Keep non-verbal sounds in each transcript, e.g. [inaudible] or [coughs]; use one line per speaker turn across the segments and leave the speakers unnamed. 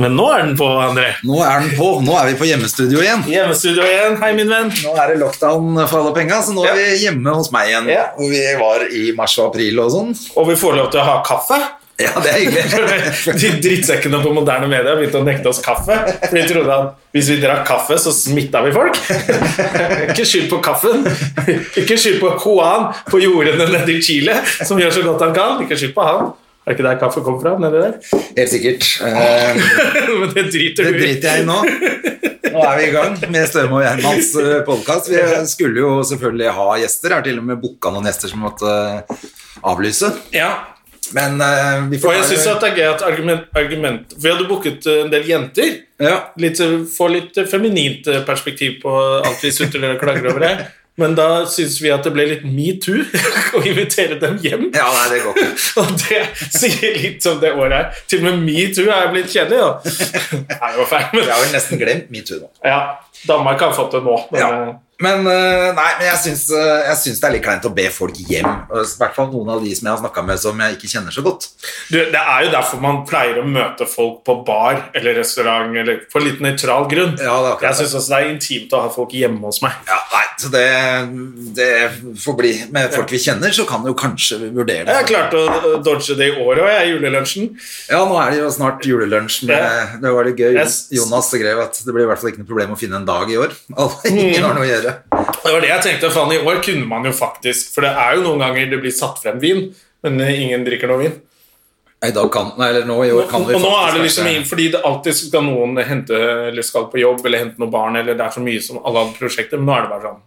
Men nå er den på, André.
Nå er den på. Nå er vi på hjemmestudio igjen.
Hjemmestudio igjen. Hei, min venn.
Nå er det lockdown for alle penga, så nå er vi hjemme hos meg igjen.
Ja.
Og vi var i mars og april og sånn.
Og vi får lov til å ha [laughs] kaffe.
Ja, det er hyggelig.
De drittsekkene på moderne media begynte å nekte oss kaffe. For de trodde at hvis vi drakk kaffe, så smitta vi folk. [laughs] Ikke skyld på kaffen. Ikke skyld på Juan på jordene nede i Chile, som gjør så godt han kan. Ikke skyld på han. Er ikke der kaffe kom fra? Nede der?
[laughs]
[laughs]
Helt sikkert. Eh,
Men det driter
Det
du i.
driter jeg i nå. Nå er vi i gang med Støme og Gjermans podkast. Vi skulle jo selvfølgelig ha gjester. Jeg har til og med booka noen gjester som måtte eh, avlyse.
Ja.
Men eh, vi
Og
får
jeg syns det er gøy at argument, argument Vi hadde booket eh, en del jenter.
ja.
litt, få litt feminint perspektiv på alt vi sutrer og klager over det. Men da syns vi at det ble litt metoo [laughs] å invitere dem hjem.
ja, nei, det går ikke.
Og det sier litt om det året her. Til og med metoo er blitt kjedelig, da. Nei, det var feil,
Jeg
men
har vel nesten glemt metoo nå.
ja, Danmark har fått det nå. Men,
Ja. Men eh, nei, men jeg syns, eh, jeg syns det er litt kleint å be folk hjem. Og I hvert fall noen av de som jeg har snakka med som jeg ikke kjenner så godt.
Du, det er jo derfor man pleier å møte folk på bar eller restaurant eller på litt nøytral grunn.
Ja, det er akkurat
jeg syns også det er intimt å ha folk hjemme hos meg.
Ja, nei, så det, det får bli med folk vi kjenner, så kan du jo kanskje vurdere det.
Jeg har klart å dodge det i året òg, jeg, julelunsjen.
Ja, nå er det jo snart julelunsj med
Ja.
Det var litt gøy.
Jeg-
Jonas skrev at det blir i hvert fall ikke noe problem å finne en dag i år. [laughs] Alle,
Mm.
ingen har noe å gjøre.
Det var det jeg tenkte, faen i år kunne man jo faktisk For det er jo noen ganger det blir satt frem vin Men eh, ingen drikker noe vin
I dag kan Nei, eller nå i år
Og
kan vi
og nå er det
faktisk
liksom
kanskje-
ingen Fordi det alltid skal noen hente Eller skal på jobb, eller hente noen barn Eller det er så mye som alle andre prosjekter Men nå er det bare sånn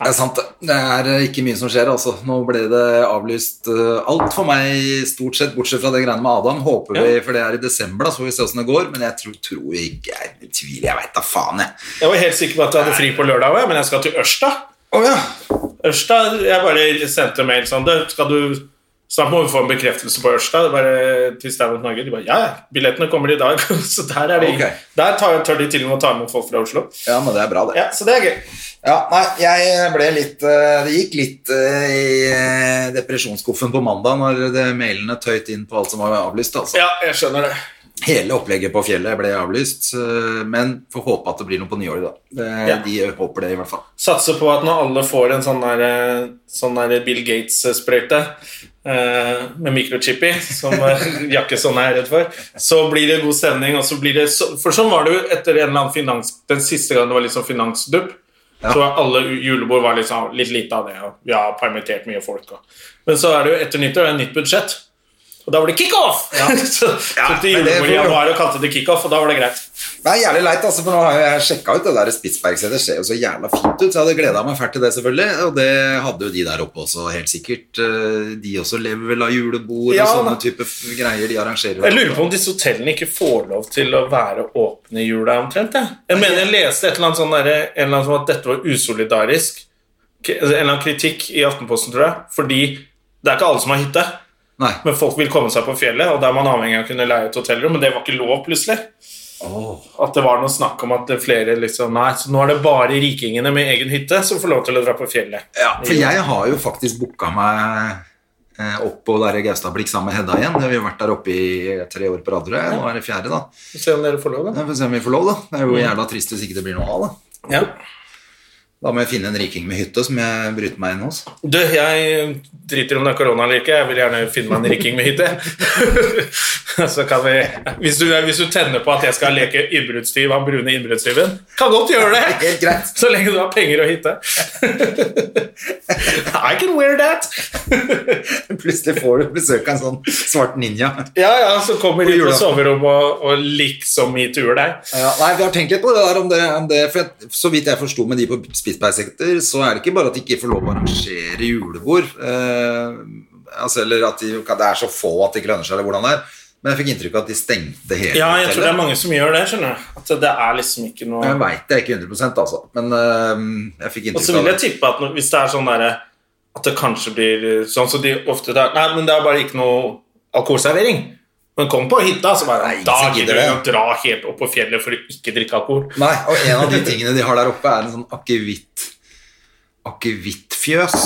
Det er sant. Det er ikke mye som skjer, altså. Nå ble det avlyst eh, alt for meg, stort sett, bortsett fra det greiene med Adam. Håper vi, for det er i desember, da, så får vi se åssen det går. Men jeg tror, tror ikke Jeg tviler, jeg veit da faen, jeg.
Jeg var helt sikker på at jeg hadde fri på lørdag også, Men jeg skal til Ørsta
Å ja.
Ørsta, jeg bare sendte mail sånn «Du, Skal du Snart må vi få en bekreftelse på Ørsta det er bare til Stand Up Norge De bare, ja, ja, billettene kommer i dag [laughs] Så der er de
Ok.
Der tar, tør de til og med å ta imot folk fra Oslo
Ja, men det er bra, det.
Ja, så det er gøy
Ja, nei, jeg ble litt eh, Det gikk litt eh, i eh, depresjonsskuffen på mandag når det- mailene tøyt inn på alt som var avlyst. Altså.
Ja, jeg skjønner det
Hele opplegget på fjellet ble avlyst, eh, men får håpe at det blir noe på nyåret, da. Det,
Ja.
De håper det, i hvert fall.
Satser på at når alle får en sånn der, eh, sånn der Bill Gates-sprøyte eh, med mikrochip i, som eh, [laughs] Jakkesson er redd for, så blir det god stemning. Og så blir det så, for sånn var det jo etter en eller annen finans... Den siste gangen det var litt sånn finansdupp, så var alle u- julebord var litt, sånn, litt lite av det, og vi har permittert mye folk. Og. Men så er det jo etter nyttår det er nytt budsjett, og da var det kickoff! Ja, [laughs] så tok de
men det
julebord i
får-
januar og kalte det kickoff, og da var det greit.
Det er jævlig leit, altså, for nå har jo jeg sjekka ut det der Spitsbergsetet. Det ser jo så jævla fint ut, så jeg hadde gleda meg fælt til det, selvfølgelig. Og det hadde jo de der oppe også, helt sikkert. Eh, De også lever vel av julebord
Ja,
og sånne
da.
type f- greier de arrangerer.
Jeg lurer på om disse hotellene ikke får lov til å være åpne i jula omtrent. Jeg, jeg mener jeg leste et eller annet sånn derre- en eller annen som at dette var usolidarisk. K- En eller annen kritikk i Aftenposten, tror jeg. Fordi det er ikke alle som har hytte.
Nei.
Men folk vil komme seg på fjellet, og da er man avhengig av å kunne leie et hotellrom. Men det var ikke lov, plutselig. At det var noe snakk om at det flere liksom Nei, så nå er det bare rikingene med egen hytte som får lov til å dra på fjellet.
Ja, for jeg har jo faktisk booka meg eh, opp på der i Gaustablikk sammen med Hedda igjen. Vi har jo vært der oppe i tre år på rad, tror jeg. Nå er det fjerde, da.
Få Se om dere får lov, da.
Vi får se om vi får lov, da. Det
Mm.
er jo jævla trist hvis ikke det blir noe av, da.
Ja.
Da må jeg finne en riking med hytte som jeg bryter meg inn hos.
Du, jeg driter om det er korona eller ikke. Jeg vil gjerne finne meg en rikking med hytte. [laughs] Så kan vi, hvis, du, hvis du tenner på at jeg skal leke innbruddstyv av brune innbruddstyven, kan godt gjøre det!
Helt greit.
Så lenge du har penger og [laughs] hytte. I can wear that! [laughs]
[laughs] Plutselig får du besøk av en sånn svart ninja.
Ja, ja, så kommer de på
julaften.
soverommet og, og liksom metooer deg.
Ja, nei, Vi har tenkt litt på det der om det, om det for jeg, Så vidt jeg forsto med de på Spitsbergsekter, så er det ikke bare at de ikke får lov å arrangere julebord, eh, altså, eller at de, det er så få at det ikke lønner seg, eller hvordan det er. Men jeg fikk inntrykk av at de stengte hele
Ja, jeg tror det er
hotellet.
mange som gjør det, skjønner du. At det er liksom ikke noe
Jeg veit det ikke 100 altså, men øhm, jeg fikk
Og så
inntrykk
vil
av
jeg
det.
tippe at når- hvis det er sånn derre At det kanskje blir eh, sånn som de ofte der Nei, men det er bare ikke noe alkoholservering. Men kom på hytta, så bare
Nei, ingen
Da
som
gidder
gidder
du å dra helt opp på fjellet for å ikke drikke alkohol.
Nei, og en av de tingene de har der oppe, er en sånn akevitt Akevittfjøs.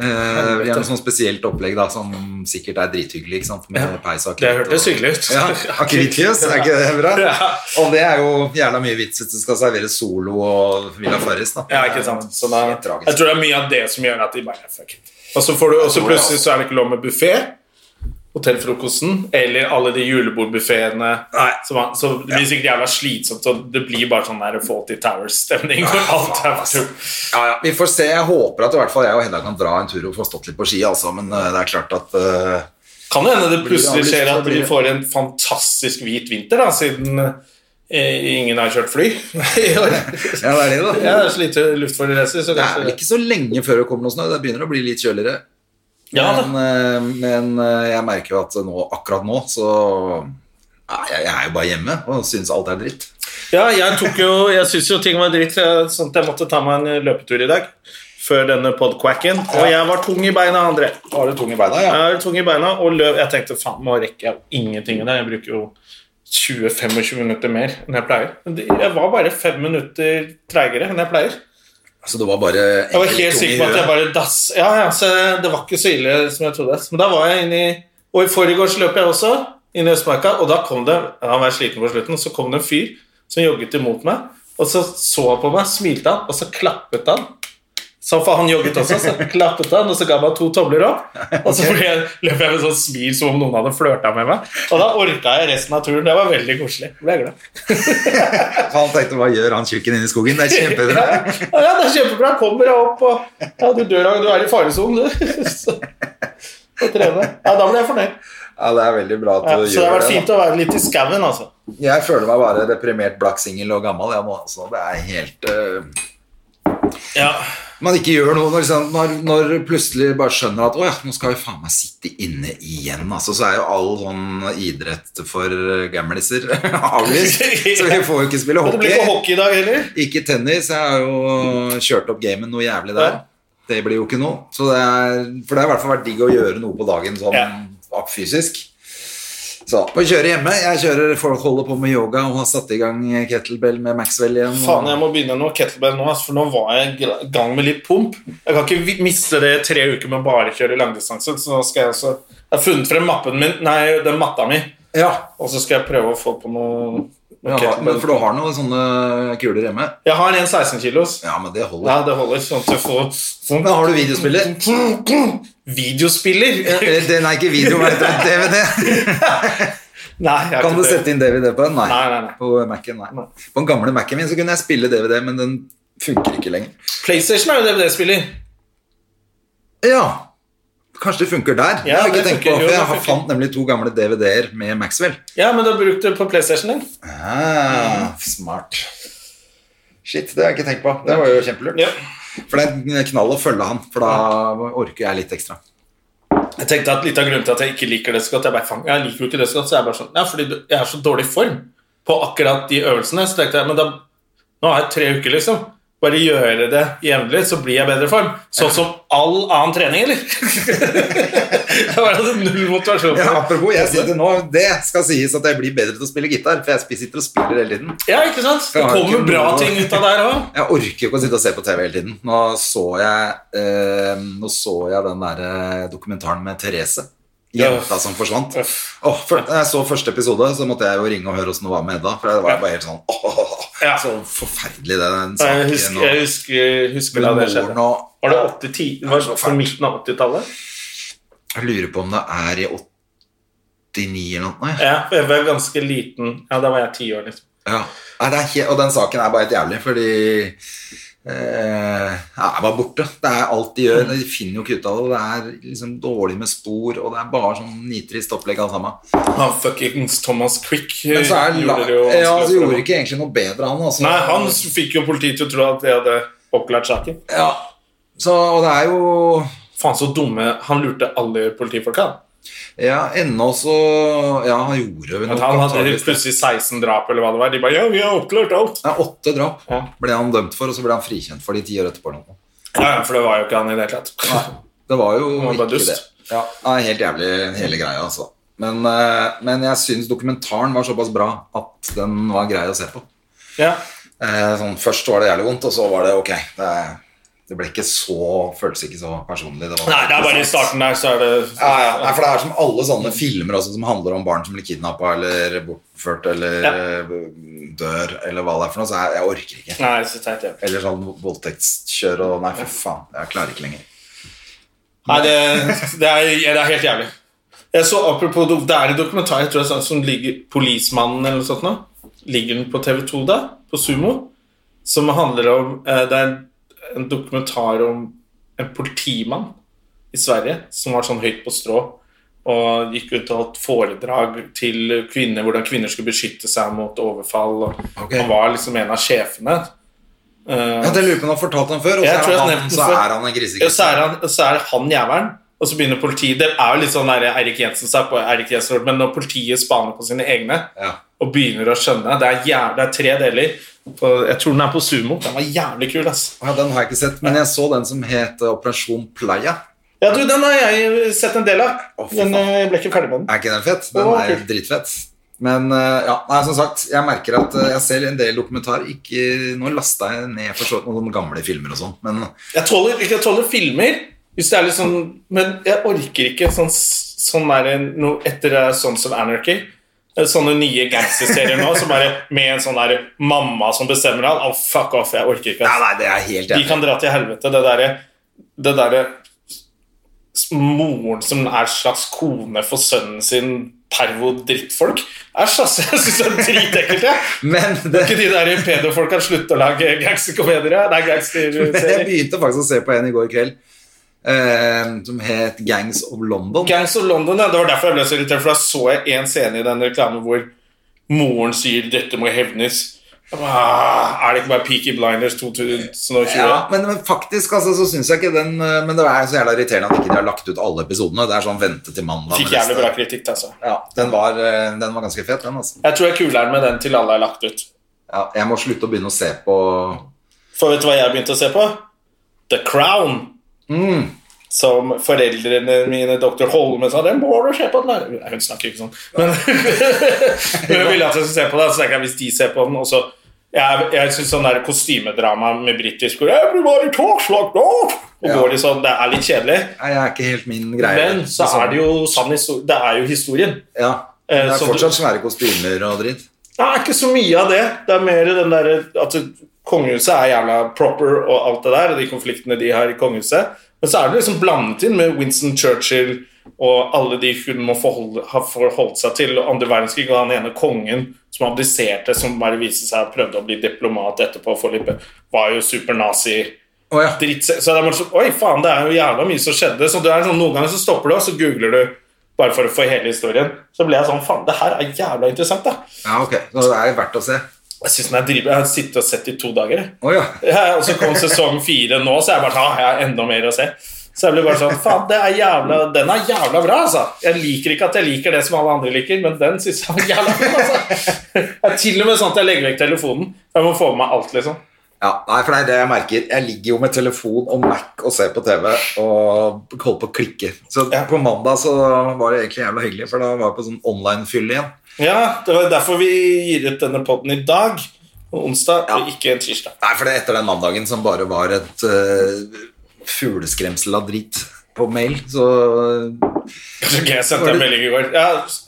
Eh, det er noe sånn spesielt opplegg da, som sikkert er drithyggelig. ikke sant? Med peis og
Det
akevitt
hørtes
og-
hyggelig ut.
Ja, Akevittfjøs, er ikke det bra?
Ja.
Og det er jo jævla mye vits hvis du skal servere Solo og Villa Farris. da.
Ja, ikke sant? Så da,
Helt tragisk.
jeg tror det er mye av det som gjør at de bare fuck it. Og så, får du, og så plutselig så er det ikke lov med buffé. Hotellfrokosten eller alle de julebordbuffeene. Så, man- så det blir sikkert jævla slitsomt, og det blir bare sånn der Faulty Towers-stemning. hvor alt er for tungt.
Ja, ja, vi får se. Jeg håper at i hvert fall jeg og Hedda kan dra en tur og få stått litt på ski, altså. Men eh, det er klart at eh,
Kan det hende det plutselig
avlyst,
skjer
så
at
blir
vi
det-
får en fantastisk hvit vinter, da, siden eh, ingen har kjørt
[laughs]
fly i år.
Ja, det er det, da.
Ja, det er så lite luftforurenser, så
Det er vel
kanskje
ikke så lenge før det kommer noe snø. Det begynner å bli litt kjøligere.
Ja da.
men, eh, men eh, jeg merker jo at nå, akkurat nå så Nei, jeg, jeg er jo bare hjemme og syns alt er dritt.
Ja, jeg tok jo Jeg syns jo ting var dritt, eh, sånn at jeg måtte ta meg en løpetur i dag. Før denne podquacken. Og jeg var tung i beina, André.
Har du tung i beina?
Jeg var tung i beina og løp. Jeg tenkte faen, nå rekker jeg jo ingenting i det. Jeg bruker jo 20-25 minutter mer enn jeg pleier. Men det- Jeg var bare fem minutter treigere enn jeg pleier.
Så det var bare
Jeg var
egentlig
helt
tung i
sikker på at jeg
huet.
bare dass. Ja, ja, så Det var ikke så ille som jeg trodde. Men da var jeg inne i Og i forgårs løp jeg også, inn i Østmarka, og da kom det Han var sliten på slutten, så kom det en fyr som jogget imot meg, og så så han på meg, smilte han, og så klappet han. Så for han jogget også, så klappet han, og så ga han meg to tomler opp. Og så ble jeg, løp jeg med sånn smil som om noen hadde flørta med meg. Og da orka jeg resten av turen. Det var veldig koselig. Ble jeg glad.
Han tenkte hva gjør han tjukken inne i skogen? Det er kjempebra.
[laughs] Ja, ja, det er kjempebra. Kommer deg opp, og ja, du dør av Du er i faresonen, du. [laughs] Så, så trene. Ja, da ble jeg fornøyd.
Ja, det er veldig bra at
Ja, så
du
det har
gjør
vært
det. da.
fint å være litt i skauen, altså.
Jeg føler meg bare deprimert blakksingel og gammel. Jeg nå, altså. Det er helt eh,
Ja.
Man ikke gjør noe når, liksom, når, når du plutselig bare skjønner at å ja, nå skal vi faen meg sitte inne igjen. Altså, så er jo all sånn idrett for eh, gamliser [laughs]
[laughs]
avlyst. Så vi får jo ikke spille
Men det blir ikke
hockey.
hockey i dag heller.
Ikke tennis. Jeg har jo kjørt opp gamen noe jævlig der.
Ja.
Det blir jo ikke noe. Så det er, for det har i hvert fall vært digg å gjøre noe på dagen sånn
Ja.
ak- fysisk. Så må kjøre hjemme. Jeg kjører folk holder på med yoga og har satt i gang kettlebell med Maxwell igjen.
Faen, jeg må begynne noe kettlebell nå, altså, for nå var jeg i gra- gang med litt pump. Jeg kan ikke vi- miste det i tre uker med å bare kjøre langdistanse, så nå skal jeg også Jeg har funnet frem mappen min, nei, den matta mi,
Ja,
og så skal jeg prøve å få på noe
jeg har, men for du har noen sånne kuler hjemme?
Jeg har en 16 kilos.
Ja, men det holder.
Ja, det holder sånn til å få sånn.
Men har du
[laughs]
videospiller?
Videospiller?
Eller, Den er ikke video, men det er DVD.
[laughs] Nei, jeg har
Kan du
ikke det.
sette inn DVD på den? Nei.
Nei, nei, nei.
På Mac-en, nei. På den gamle Mac-en min så kunne jeg spille DVD, men den funker ikke lenger.
PlayStation er jo DVD-spiller.
Ja, kanskje det funker der. jeg
Ja,
har ikke
det
tenkt
funker. Jo,
på, for
det
jeg har
funker.
fant nemlig to gamle DVD-er med Maxwell.
Ja, men du har brukt det på PlayStation din.
Ah, smart. Shit, det har jeg ikke tenkt på. Det var jo kjempelurt.
Ja.
For det er eh, knall å følge han, for da orker jeg litt ekstra.
Jeg tenkte at Litt av grunnen til at jeg ikke liker det så godt Jeg, bare, faen, jeg liker jo ikke det så godt, så jeg er bare sånn Ja, fordi du- jeg er så dårlig i form på akkurat de øvelsene. Så tenkte jeg, men da Nå har jeg tre uker, liksom. Bare gjøre det jevnlig, så blir jeg bedre i form. Sånn som all annen trening, eller? [laughs] jeg bare hadde null motivasjon. for
Ja,
det.
apropos, jeg sitter nå, det skal sies at jeg blir bedre til å spille gitar, for jeg sitter og spiller hele tiden.
Ja, ikke sant? Det
Jeg har ikke
kommer bra
noe-
ting ut av det her òg.
Jeg orker jo ikke å sitte og se på TV hele tiden. Nå så jeg, eh, nå så jeg den der eh, dokumentaren med Therese. Jenta
Ja.
som forsvant.
Uff.
Åh, for, da jeg så første episode, så måtte jeg jo ringe og høre åssen det var med Edda. For det var bare helt sånn åh, åh, åh,
Ja.
Så forferdelig, det, den
Jeg
saken.
husker, jeg husker, husker da det
og,
skjedde.
moren, og
Var det 80-10? Det var
så
fra
fælt.
midten av 80-tallet?
Jeg lurer på om det er i 89 eller noe. Ja.
Ja, for jeg var ganske liten. Ja, da var jeg ti år, liksom.
Ja. Nei, det er he- og den saken er bare helt jævlig, fordi eh, ja, Jeg var borte. Det er alt de gjør. De finner jo ikke ut av det. Det er liksom dårlig med spor, og det er bare sånn nitrist opplegg alt sammen.
Han fuckings Thomas Quick eh,
Men så er la,
gjorde det jo
ja,
vanskelig
så
for
gjorde
ham.
ikke egentlig noe bedre, han. Altså.
Nei, han fikk jo politiet til å tro at de hadde oppklart saken.
ja. Så, og det er jo
Faen, så dumme. Han lurte alle politifolka. han.
Ja, ennå så Ja, han gjorde vel
At
noe
han hadde
antageligvis.
plutselig 16 drap, eller hva det var. De bare 'ja, vi har oppklart alt'.
Nei, åtte drap
Ja.
ble han dømt for, og så ble han frikjent for de ti år etterpå. eller noe.
Ja, ja, for det var jo ikke han i det hele tatt.
Det var jo
var
ikke
bare dust.
det. Ja, nei, helt jævlig hele greia, altså. Men, eh, men jeg syns dokumentaren var såpass bra at den var grei å se på.
Ja.
Eh, sånn, først var det jævlig vondt, og så var det ok. Det, det ble ikke så, føltes ikke så personlig. Det var
Nei, det er bare i starten der, så er det
Ja, ja. Nei, for det er som alle sånne filmer også, som handler om barn som blir kidnappa eller bortført eller eh, dør eller hva det er for noe, så jeg, jeg orker ikke.
Nei, så teit, ja.
Eller sånn voldtektskjør og Nei, for faen. Jeg klarer ikke lenger.
Nei, det, det, er, ja, det er helt jævlig. Jeg så apropos do- Det er en dokumentar jeg tror jeg sa, som ligger Polismannen eller noe sånt nå. Ligger den på TV2 da? På Sumo? Som handler om eh, Det er en dokumentar om en politimann i Sverige som var sånn høyt på strå og gikk ut og holdt foredrag til kvinner, hvordan kvinner skulle beskytte seg mot overfall. Og
Ok.
Han var liksom en av sjefene. Eh,
Ja, det lurer på om du har fortalt den før, og
Jeg
så
tror
er
jeg
han,
nevnte den
så
før.
er han en
ja, så,
grisegutt.
er han, så er han jævelen, og så begynner politiet Det er jo litt sånn der Erik Jensen sa på Erik Jensen, men når politiet spaner på sine egne
Ja.
og begynner å skjønne Det er, jæv- det er tre deler. På, jeg tror den er på sumo. Den var jævlig kul, ass.
Ja, den har jeg ikke sett, men jeg så den som het eh, Operasjon Playa.
Ja, du, den har jeg sett en del av,
Å, fy
men
faen.
eh, jeg ble ikke ferdig med den.
Er ikke den fett? Den
Å,
er
kult.
dritfett. Men eh, ja, nei, som sagt, jeg merker at eh, jeg ser en del dokumentar ikke, Nå lasta jeg ned for så vidt noen gamle filmer og sånn, men
Jeg tåler, ikke- jeg tåler filmer, hvis det er litt sånn Men jeg orker ikke sånn, sånn der, no, etter eh, Sons of Anarchy. eh, Sånne nye gangsterserier nå som bare med en sånn der mamma som bestemmer alt. Oh, fuck off, jeg orker ikke. ass.
Nei, nei, det er helt
De
enig.
kan dra til helvete. Det derre det derre s- Moren som er slags kone for sønnen sin, pervo-drittfolk. Æsj, ass! [laughs] Jeg syns det er dritekkelt, jeg.
Men
[laughs]
det,
Kan Ikke de der pedofolka slutte å lage gangsterkomedier? ja? Nei,
[laughs] jeg
gangsterserier.
begynte faktisk å se på en i går kveld eh, som het Gangs of London.
Gangs of London, ja. Det var derfor jeg ble så irritert, for da så jeg en scene i den reklamen hvor moren sier 'dette må hevnes'. Jeg bare, Ah, er det ikke bare Peaky Blinders 2020?
Ja, men, men faktisk altså, så syns jeg ikke den eh, Men det er så jævla irriterende at ikke de har lagt ut alle episodene. Det er sånn vente til mandag.
Fikk
med neste-
jævlig bra kritikk, altså.
Ja, den var, eh, den var ganske fet, den, altså.
Jeg tror jeg er kulere med den til alle er lagt ut.
Ja, jeg må slutte å begynne å se på
For vet du hva jeg begynte å se på? The Crown. Mm. Som foreldrene mine, dr. Holme, sa det må du se på. Den. der." Hun snakker ikke sånn. Men, [laughs] men hun ville at jeg skulle se på det. Så tenker jeg hvis de ser på den og så- Jeg, jeg syns sånn der kostymedrama med britisk hvor Everybody talks like that! Og
Ja.
går de sånn, Det er litt kjedelig.
Nei, jeg er ikke helt min greie.
Men så er det jo sann historie. Det er jo historien.
Ja.
Eh,
Det er
så
fortsatt svære kostymer og dritt.
Det er ikke så mye av det. Det er mer den der at kongehuset er jævla proper og alt det der, og de konfliktene de har i kongehuset. Men så er det liksom blandet inn med Winston Churchill og alle de hun må forholde, ha forholdt seg til, og andre verdenskrig, og han ene kongen som abdiserte, som bare viste seg å prøvde å bli diplomat etterpå, for litt, var jo supernazi.
Å ja.
Dritt, så det er bare sånn, Oi, faen, det er jo jævla mye som skjedde. Så det er sånn, Noen ganger så stopper du, og så googler du bare for å få hele historien. Så ble jeg sånn Faen, det her er jævla interessant, da.
ja, ok. Så det er verdt å se.
Jeg synes den er driv... Jeg har sittet og sett i to dager. jeg.
Å ja.
Ja, og så kom sesong fire nå, så jeg bare sånn, ah, jeg har enda mer å se. Så jeg ble bare sånn Faen, det er jævla, den er jævla bra, altså. Jeg liker ikke at jeg liker det som alle andre liker, men den synes jeg var jævla bra, altså. Det er til og med sånn at jeg legger vekk telefonen. Jeg må få med meg alt, liksom.
ja. Nei, for det er det jeg merker. Jeg ligger jo med telefon og Mac og ser på TV og holder på å klikke. Så på mandag så var det egentlig jævla hyggelig, for da var jeg på sånn online-fyll igjen.
Ja, det var derfor vi gir ut denne podden i dag. Og onsdag, og ikke en tirsdag.
Nei, for det er etter den mandagen som bare var et eh, fugleskremsel av drit på mail, så
Så gøy, jeg sendte en melding i går. Ja,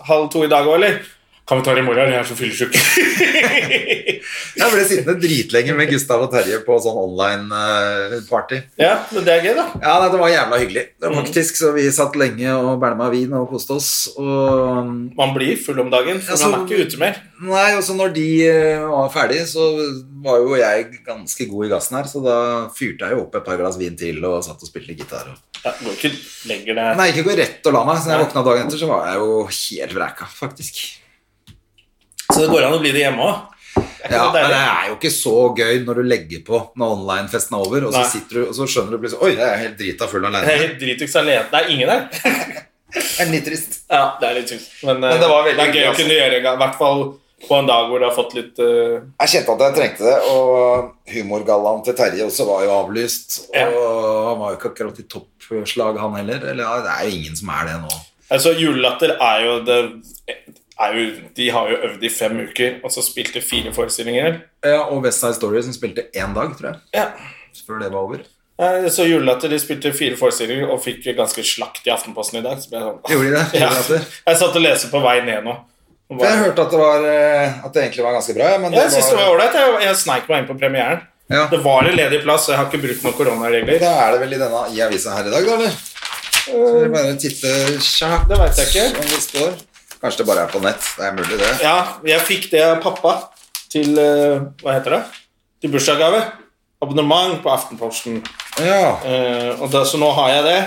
halv to i dag òg, eller? Kan vi ta det i morgen? Jeg er så fyllesyk.
Jeg ble sittende dritlenge med Gustav og Terje på sånn online-party.
[laughs] ja, men det er gøy, da.
Ja, nei, det var jævla hyggelig, det var faktisk. Så vi satt lenge og bælma vin og koste oss. Og,
Man blir full om dagen, for
Altså-
man er ikke ute mer.
nei, og så når de eh, var ferdige, så var jo jeg ganske god i gassen her, så da fyrte jeg jo opp et par glass vin til og satt og spilte gitar. Og...
Ja, det går ikke lenger det.
Nei, ikke gå rett og la meg. Så når jeg våkna dagen etter, så var jeg jo helt vræka, faktisk.
Så det går an å bli det hjemme òg.
Ja, men det er jo ikke så gøy når du legger på når online-festen er over, og så,
Nei.
sitter du, og så skjønner du plutselig Oi, jeg er helt drita full
Jeg er
alene.
helt dritings alene. Det er ingen her.
er litt trist.
[laughs] Ja, det er litt tungt. Men, eh,
Men det var veldig
det er gøy
gøy,
å kunne gjøre en gang. I hvert fall på en dag hvor du har fått litt eh,
Jeg kjente at jeg trengte det, og humorgallaen til Terje også var jo avlyst. Og
Ja.
han var jo ikke akkurat i toppslag, han heller. Eller ja, det er jo ingen som er det nå.
Altså, Julelatter er jo det er jo, De har jo øvd i fem uker, og så spilte fire forestillinger.
Ja, og West Side Story som spilte én dag, tror jeg,
Ja.
før det var over.
Eh, Så Julelatter de spilte fire forestillinger og fikk ganske slakt i Aftenposten i dag. Så ble jeg sånn
Gjorde de det?
[laughs] Ja.
Julelatter?
Jeg satt og leste på vei ned nå. Og
For jeg
bare-
hørte at det, var, eh, at det egentlig var ganske bra. Ja, men det
Jeg synes det var ålreit. Jeg, jeg sneik meg inn på premieren.
Ja.
Det var en ledig plass, og jeg har ikke brukt noen koronaregler.
Da er det vel i denne i avisa her i dag, da, eller? Så vi bare titte kjapt
Det vet jeg ikke.
om det står. Kanskje det bare er på nett. Det er mulig, det.
Ja, jeg fikk det av pappa til eh, Hva heter det? Til bursdagsgave. Abonnement på Aftenposten.
Ja,
Eh, og da, så nå har jeg det.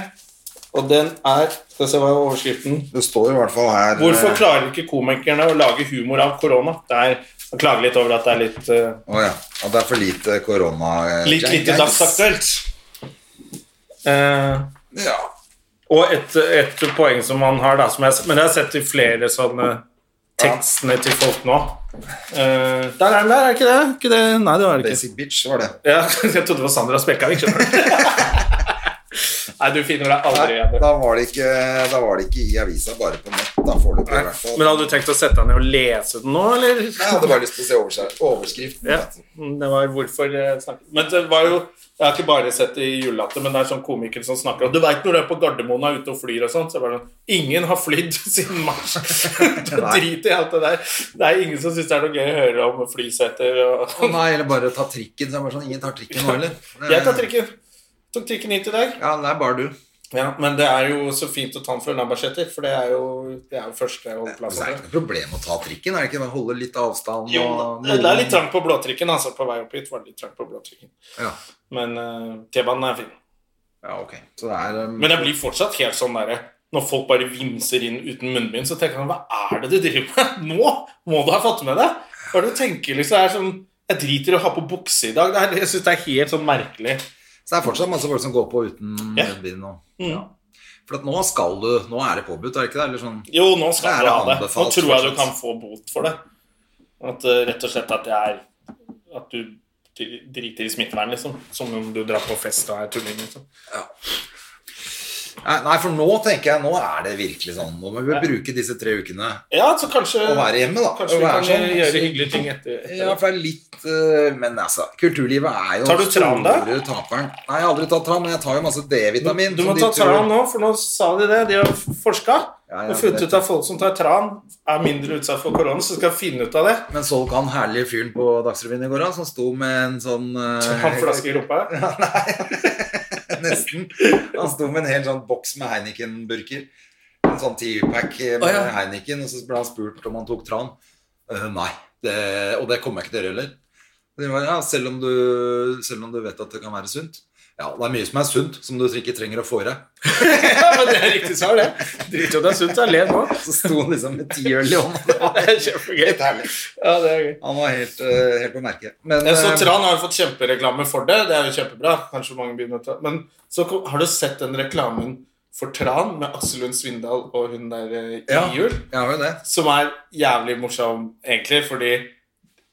Og den er Skal vi se hva er overskriften
Det står i hvert fall her
Hvorfor
eh,
klarer ikke komikerne å lage humor av korona? Det er å klage litt over at det er litt eh,
Å ja. At det er for lite korona... eh,
Litt
gang-
lite
gangs.
dagsaktuelt. Eh,
Ja.
og et, et poeng som man har, da, som jeg, men det har jeg sett i flere sånne tekstene til folk nå. Eh, der er den der, er ikke det? Ikke det? Nei, det var det ikke.
Basic bitch var det.
Ja, [laughs] jeg trodde det var Sandra Spekkavik. [laughs] skjønner du. Nei, du finner deg aldri
Nei,
igjen. du.
da var det ikke, da var det ikke i avisa, bare på nett. Da får du det i hvert fall.
Men hadde du tenkt å sette deg ned og lese den nå, eller?
Jeg hadde bare lyst til å se overskri- overskriften.
Ja, det var hvorfor jeg snakket Men det var jo Jeg har ikke bare sett det i julelatter, men det er sånn komikere som snakker Og du veit når du er på Gardermoen og er ute og flyr og sånn, så er det bare sånn Ingen har flydd [laughs] siden
[laughs]
mars. Da
Nei.
driter jeg i alt det der. Det er ingen som syns det er noe gøy å høre om flyseter og
Å Nei, eller bare ta trikken. Så er det bare sånn, ingen tar trikken nå heller.
[laughs]
Det-
Jeg tar trikken. Tok trikken hit i dag.
Ja, det er bare du.
Ja, men det er jo så fint å ta den fra Lambertseter, for det er jo, det er jo første
Men
holdeplass.
så er det ikke noe problem å ta trikken? Er det ikke det? Holde litt avstand?
Jo,
og-
det er litt trangt på blåtrikken, altså. På vei opp hit var det litt trangt på blåtrikken.
Ja.
Men eh, T-banen er fin.
ja, ok. Så det er um,
Men jeg blir fortsatt helt sånn derre Når folk bare vimser inn uten munnbind, så tenker jeg sånn, hva er det du driver med? [laughs] Nå må du ha fått med deg! Hva er det du tenker liksom? Det er sånn Jeg driter i å ha på bukse i dag. Det er, jeg syns det er helt sånn merkelig.
Så det er fortsatt masse folk som går på uten
Ja.
munnbind nå.
Mm.
For at nå skal du Nå er det påbudt, er det ikke det? Eller sånn
Jo, nå
Det er
skal du ha det. Nå
anbefalt,
tror jeg du
fortsatt.
kan få bot for det. At eh, Rett og slett at det er At du dri- driter i smittevern, liksom. Som om du drar på fest og er tulling, liksom.
Nei, Nei, for nå tenker jeg Nå er det virkelig sånn. Nå må vi bruke disse tre ukene
Ja, så kanskje
og være hjemme, da.
Kanskje
Og
vi
være
kan
sånn.
gjøre hyggelige ting etter, etter
Ja, for det er litt eh, Men altså, kulturlivet er jo
Tar du tran, da?
store taperen. Nei, jeg har aldri tatt tran, men jeg tar jo masse D-vitamin.
Du må
som de
ta
tror-
tran nå, for nå sa de det. De har forska
Ja, ja,
og funnet
det-
ut at folk som tar tran, er mindre utsatt for korona. Så skal jeg finne ut av det.
Men så du han herlige fyren på Dagsrevyen i går, da, som sto med en sånn eh,
[laughs] Han flasker i rumpa. [laughs]
Nesten. Han sto med en hel sånn boks med Heineken-burker. En sånn 10-pack med
Å, ja.
Heineken, og så ble han spurt om han tok tran. Eh, nei. Det, og det kommer jeg ikke til å gjøre heller. Og de var, Ja, selv, om du, selv om du vet at det kan være sunt. Ja, det er mye som er sunt, som du ikke trenger å få i deg.
Ja, men det er riktig svar, det. Drit i om det er sunt. Jeg ler nå.
[laughs] [laughs] Så sto han liksom med ti øl i hånda. Det var
Det er kjempegøy.
helt herlig.
Ja, det er gøy.
Han var helt, eh, helt på merket. Men,
Så
eh,
Tran har jo fått kjempereklame for det. Det er jo kjempebra. Kanskje mange begynner å ta Men så kom, har du sett den reklamen for Tran med Aksel Lund Svindal og hun der eh, i
Ja.
jul?
jeg har jo det.
Som er jævlig morsom, egentlig, fordi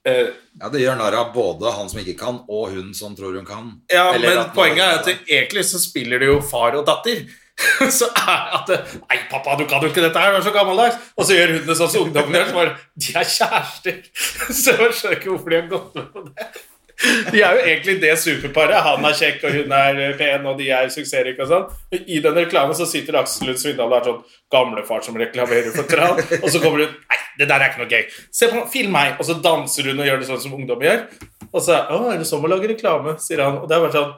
eh,
Ja, Det gjør narr av både han som ikke kan, og hun som tror hun kan.
Ja,
Eller
men
at man-
poenget er at det- egentlig så spiller det jo far og datter. [laughs] Så er at det, Nei, pappa, du kan jo ikke dette her, du er så gammeldags. Og så gjør hun det sånn som ungdommen gjør. Så bare De er kjærester! [laughs] Så jeg skjønner ikke hvorfor de har gått med på det. De er jo egentlig det superparet. Han er kjekk, og hun er pen, og de er suksessrike og sånn. Men I den reklamen så sitter Aksel Lund Svindal og er sånn gamlefar som reklamerer for tran, og så kommer hun Nei, det der er ikke noe gøy. Se på, film meg! Og så danser hun og gjør det sånn som ungdom gjør. Og så er, å, er det sånn å lage reklame, sier han. Og det er bare sånn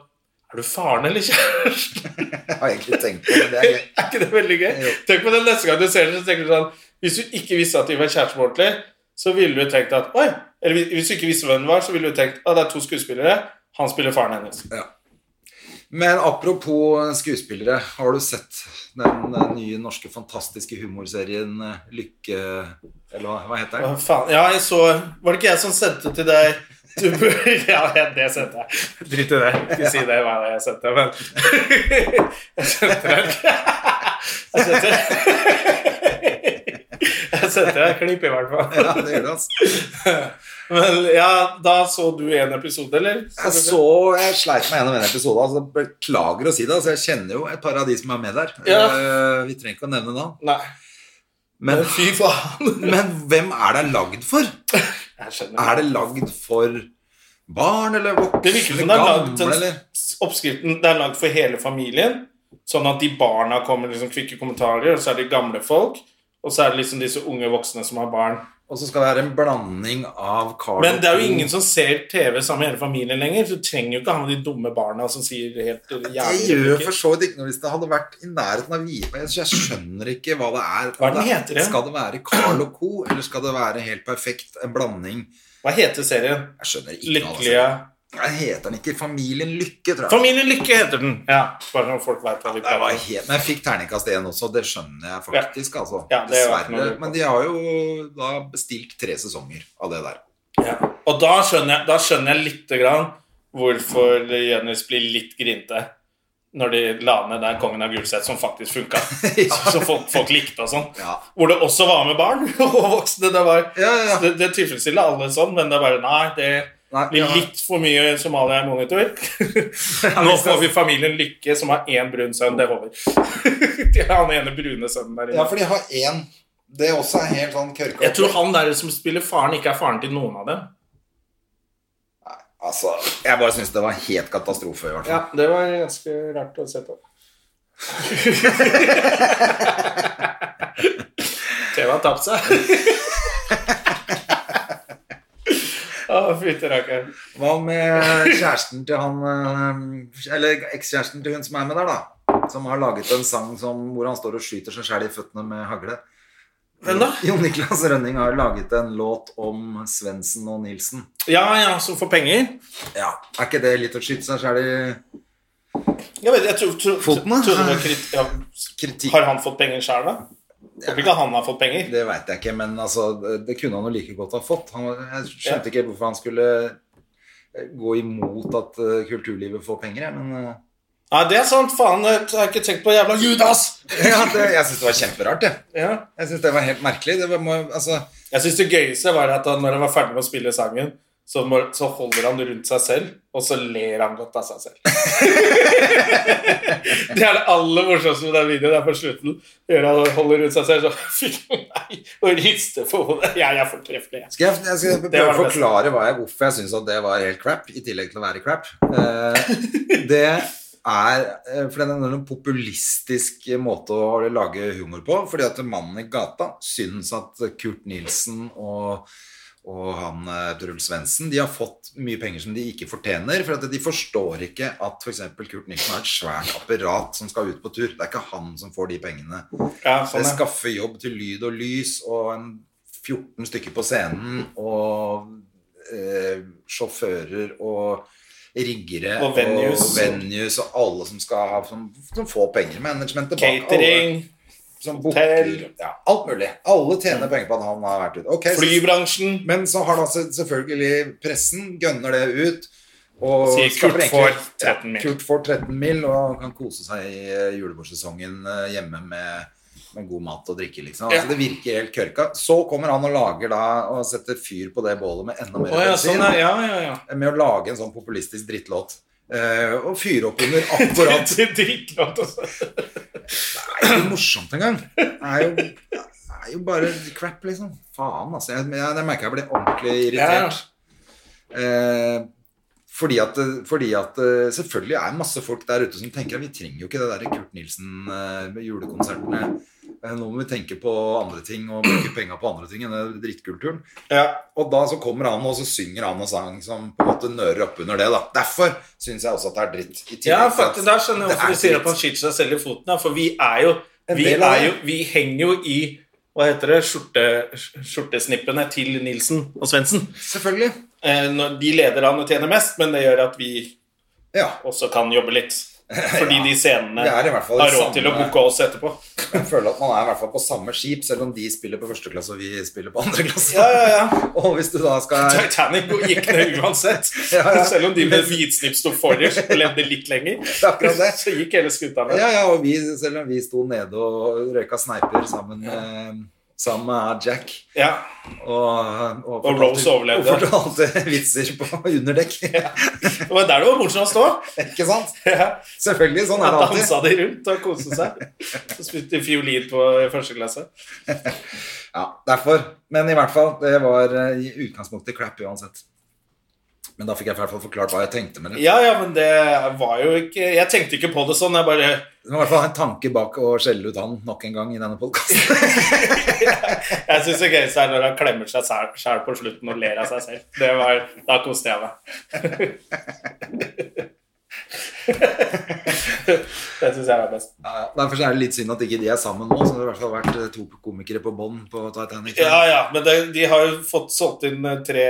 Er du faren eller kjæresten?
[laughs]
[laughs]
Jeg har egentlig tenkt på det. det
er
er gøy.
ikke det veldig gøy?
Jo.
Tenk på det neste gang du ser det, så tenker du sånn Hvis du ikke visste at de var kjærester ordentlig, så ville du tenkt at Oi! Eller hvis- hvis du ikke visste hvem det var, så ville du tenkt at det er to skuespillere. Han spiller faren hennes.
Men apropos eh, skuespillere, har du sett den eh, nye norske fantastiske humorserien eh, Lykke Eller hva- hva heter
[laughs]
den?
Å, faen. Ja, jeg så Var det ikke jeg som sendte til deg Du bør, [laughs] ja, det sendte jeg. Drit i det. Ikke si det hva det er jeg sendte, men [laughs] Jeg sendte deg Jeg sendte [laughs] Jeg sendte deg et klipp, i hvert fall.
Ja, det gjør det, altså.
Men ja, da så du en episode, eller?
Jeg så, jeg sleit meg gjennom en episode, altså beklager å si det, altså jeg kjenner jo et par av de som er med der.
Ja.
Eh, Vi trenger ikke å nevne navn.
Nei.
Men,
Fy faen.
men hvem er det lagd for?
Jeg skjønner.
Er det lagd for barn eller voksne?
Det virker som det er lagd
gamle, eller?
Oppskriften det er lagd for hele familien, sånn at de barna kommer liksom kvikke kommentarer, og så er det gamle folk, og så er det liksom disse unge voksne som har barn.
Og så skal det være en blanding av Carl
Men det er
og
jo
King.
ingen som ser TV sammen med hele familien lenger, så du trenger jo ikke ha med de dumme barna som sier helt
Jeg
jævlig
gjør
replikker.
for så vidt ikke noe hvis det hadde vært i nærheten av Vipa. Jeg jeg skjønner ikke hva det er.
Hva er den
det er-
heter igjen?
Skal det være Carl og co., eller skal det være helt perfekt en blanding?
Hva heter serien?
Jeg skjønner ikke
Lykkelige
noe. Jeg heter den ikke Familien Lykke, tror jeg.
Familien Lykke heter den! Ja, bare når folk vet hva de
det var
prater om.
helt, men jeg fikk terningkast én også, det skjønner jeg faktisk. Altså.
Ja, det er jo ikke noe å
Dessverre.
lure på.
Men de har jo da bestilt tre sesonger av det der.
Ja. Og da skjønner jeg, da skjønner jeg lite grann hvorfor Jønnis blir litt grinte når de la ned den Kongen av Gulset som faktisk funka,
[laughs] Ja.
som folk, folk likte og sånn.
Ja.
Hvor det også var med barn [laughs] og voksne. Det, var,
Ja, ja, ja.
det, det tilfredsstiller alle sånn, men det er bare Nei, det
Nei,
Blir
ja.
litt for mye Somalia i
[laughs]
monitor. [laughs] Nå får vi familien Lykke, som har én brun sønn. Det holder. [laughs] De har han ene brune sønnen der
ja,
inne.
for de har én. Det også er helt sånn kørka.
Jeg tror han der som spiller faren, ikke er faren til noen av dem.
Altså, jeg bare syns det var helt katastrofe, i hvert fall.
Det var ganske rart å se [laughs] på. TV har tapt seg. [laughs] Å, fytti rakkeren.
Hva med kjæresten til han eh, Eller ekskjæresten til hun som er med der, da? Som har laget en sang som, hvor han står og skyter seg sjæl i føttene med hagle.
Hvem da?
Jon Niklas Rønning har laget en låt om Svendsen og Nilsen.
Ja, ja, som får penger.
Ja, Er ikke det litt å skyte seg sjæl i
Jeg vet, jeg tror, tror,
Foten, da?
tror det var krit, ja.
Kritikk.
Har han fått penger sjøl, da? Håper ikke han har fått penger.
Det veit jeg ikke, men altså, det- det kunne han jo like godt ha fått. Han, jeg skjønte ikke hvorfor han skulle eh, gå imot at eh, kulturlivet får penger, jeg, men eh,
Nei, det er sant. Faen, det har jeg ikke tenkt på. Jævla Judas!
ja, det, Jeg syns det var kjemperart, jeg.
Ja.
Jeg syns det var helt merkelig. Det var, må, altså,
Jeg syns det gøyeste var at han, når han var ferdig med å spille sangen, så, må, så holder han rundt seg selv, og så ler han godt av seg selv. [laughs] det er det aller morsomste med den videoen. Det er på slutten. Gjør han holder rundt seg selv, så [laughs] fyller han nei, og rister på hodet. Jeg er fortreffelig, jeg.
Skal jeg, jeg skal
det
prøve å
beste.
forklare hva jeg, hvorfor jeg syns at det var helt crap, i tillegg til å være crap.
[laughs]
Eh, det er eh, For det er en populistisk måte å lage humor på. Fordi at mannen i gata syns at Kurt Nilsen og, og han eh, Truls Svendsen de har fått mye penger som de ikke fortjener. For at de forstår ikke at f.eks. Kurt Nilsen har et svært apparat som skal ut på tur. Det er ikke han som får de pengene.
Ja,
Det
sånn, ja.
skaffer jobb til lyd og lys og en 14 stykker på scenen og eh, sjåfører og riggere
Og venues.
og, venues, og alle som skal ha som, som får penger. Managementet bak alle.
Catering,
Som
hotell. Mm.
booker, ja, alt mulig. Alle tjener penger på at han har vært ute. Ok, så-
flybransjen.
men så har da se- selvfølgelig pressen gønner det ut. Og
Sier
skaper
Kurt
egentlig-
får 13 mil.
Ja, Kurt får 13 mil og kan kose seg i eh, julebordsesongen eh, hjemme med, med god mat og drikke, liksom.
Ja.
Altså, det virker helt kørka. Så kommer han og lager da og setter fyr på det bålet med enda mer
Å ja,
bensin.
sånn, ja. ja, ja, ja.
Med å lage en sånn populistisk drittlåt. Eh, og fyre opp under akkurat
Det er dritglad, altså.
Det er ikke morsomt engang. Det er jo, det er jo bare crap, liksom. Faen, altså. Jeg, jeg, jeg merker jeg ble ordentlig irritert. Eh, fordi at, fordi at eh, selvfølgelig er det masse folk der ute som tenker at vi trenger jo ikke det der Kurt Nilsen eh, med julekonsertene. Eh, nå må vi tenke på andre ting og bruke penga på andre ting enn den drittkulturen.
Ja.
Og da så kommer han og så synger han en sang som på en måte nører opp under det. da Derfor syns jeg også at det er dritt. I tillegg
Ja,
til at
faktisk, der skjønner jeg
det er
hvorfor du sier
dritt.
at man skyter seg selv i foten. da, For vi er jo
En
Vi,
del av
er jo,
det.
vi henger jo i hva heter det, skjorte, skjortesnippene til Nilsen og Svendsen.
Selvfølgelig.
Eh, når de leder an og tjener mest, men det gjør at vi
Ja. [laughs]
også kan jobbe litt. Fordi de scenene
Det er i hvert fall
har råd
samme-
til å booke oss etterpå.
Jeg føler at man er i hvert fall på samme skip, selv om de spiller på første klasse og vi spiller på andre klasse.
Ja, ja, ja.
[laughs] Og hvis du da
[laughs]
skal
Titanic gikk ned uansett.
[laughs] Ja, ja.
Selv om de med hvitsnipp sto forrest og levde litt lenger,
er akkurat [laughs] det.
[laughs] så gikk hele skuta ned.
Ja, ja, og vi, selv om vi sto nede og røyka sneiper sammen med, sammen med Jack
Ja.
Og, og, fortalte-
Rose overlevde.
Og fortalte vitser på
[laughs]
underdekk.
Det var der det var morsomt å stå.
Ikke sant?
Ja.
Selvfølgelig, sånn
Da
er det alltid.
dansa de rundt og koste seg. Så spilte de fiolin på i første klasse.
Ja, derfor. Men i hvert fall, det var eh, i utgangspunktet crap uansett. Men da fikk jeg i hvert fall forklart hva jeg tenkte med det.
Ja, ja, men det var jo ikke Jeg tenkte ikke på det sånn. Jeg bare
Det var i hvert fall en tanke bak å skjelle ut han nok en gang i denne podkasten.
Jeg syns det gøyeste er når han klemmer seg sjæl på slutten og ler av seg selv. Det var, da koste jeg meg. det syns jeg var best.
Derfor så er det litt synd at ikke de er sammen nå, så det har i hvert fall vært eh, to komikere på bånn på Titanic.
Ja, ja, men det, de har jo fått solgt inn eh, tre,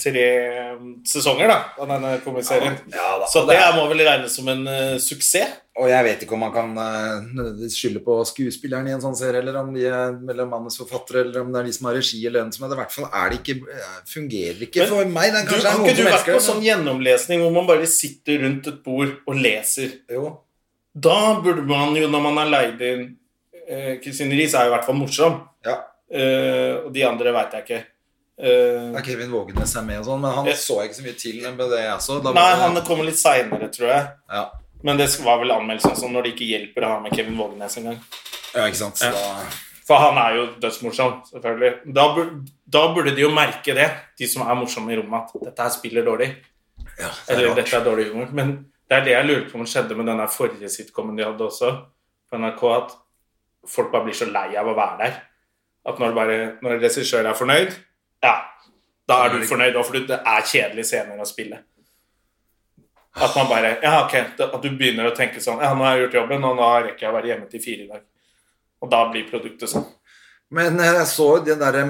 tre um, sesonger da, av denne komiserien.
Ja da,
Så
og
det
det er-
må vel regnes som en eh, suksess.
Og jeg vet ikke om man kan eh, nødvendigvis skylde på skuespilleren i en sånn serie, eller om de er mellom manusforfattere, eller om det er de som har regi eller hvem som er det. I hvert fall er det ikke, eh, fungerer ikke
Men
for meg. Det er
Du,
kanskje
har ikke
er noen
du
som
vært
elsker
på
det,
sånn gjennomlesning hvor man bare sitter rundt et bord og leser?
men- Jo.
Da burde man jo, når man er leid inn eh, Kristine Riis er jo i hvert fall morsom.
Ja.
Eh, og de andre veit jeg ikke. Eh,
Ja, Kevin Vågenes er med og sånn, men han
Ja.
så ikke så mye til med det jeg så. Da var
Nei,
det-
han kommer litt seinere, tror jeg.
ja.
Men det var vel anmeldt sånn som når det ikke hjelper å ha med Kevin Vågenes engang.
ja, ikke sant. Så da...
For han er jo dødsmorsom, selvfølgelig. Da, bur- da burde de jo merke det, de som er morsomme i rommet, at dette her spiller dårlig.
det er
Eller
rart.
dette er dårlig humor. Men det er det jeg lurer på om skjedde med den der forrige sitcomen de hadde også, på NRK, at folk bare blir så lei av å være der. At når, bare, når regissør er fornøyd, ja, da er du fornøyd også, for det er kjedelige scener å spille. At man bare Ja, ok. At du begynner å tenke sånn Ja, nå har jeg gjort jobben, og nå rekker jeg å være hjemme til fire i dag. Og da blir produktet sånn.
Men eh, jeg så jo den derre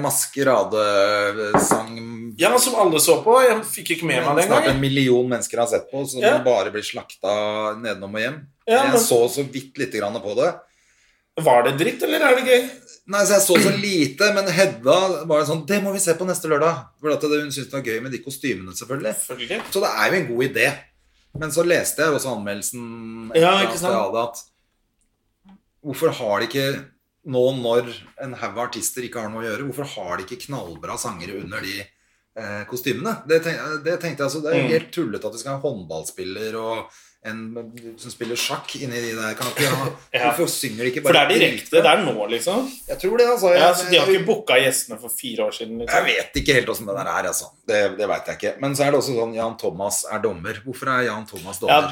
maskeradesang
Ja, som alle så på. Jeg fikk ikke med meg det
Snart en
engang.
million mennesker har sett på, som
Ja.
bare blir slakta nedenom og hjem.
Ja, men-
Jeg så så vidt lite grann på det.
Var det dritt, eller er det gøy?
Nei, så Jeg så så lite, men Hedda var jo sånn Det må vi se på neste lørdag. For at det, hun syntes det var gøy med de kostymene, selvfølgelig.
Selvfølgelig.
Så det er jo en god idé. Men så leste jeg også anmeldelsen
Ja,
etter
ikke
at
sant?
jeg hadde at Hvorfor har de ikke nå når en haug av artister ikke har noe å gjøre, hvorfor har de ikke knallbra sangere under de eh, kostymene? Det, tenk, det tenkte jeg altså, Det er
Mm.
jo helt tullete at vi skal ha en håndballspiller og en som spiller sjakk inni de der. Kan ikke, ha-
[laughs] Ja.
Hvorfor synger de ikke
For det
bare
er direkte. Det er nå, liksom.
Jeg tror det, altså. Jeg,
Ja, så de har ikke booka gjestene for fire år siden.
jeg
Liksom.
vet ikke helt åssen det der er, altså. Det, det veit jeg ikke. Men så er det også sånn Jan Thomas er dommer. Hvorfor er Jan Thomas
Ja,
dommer?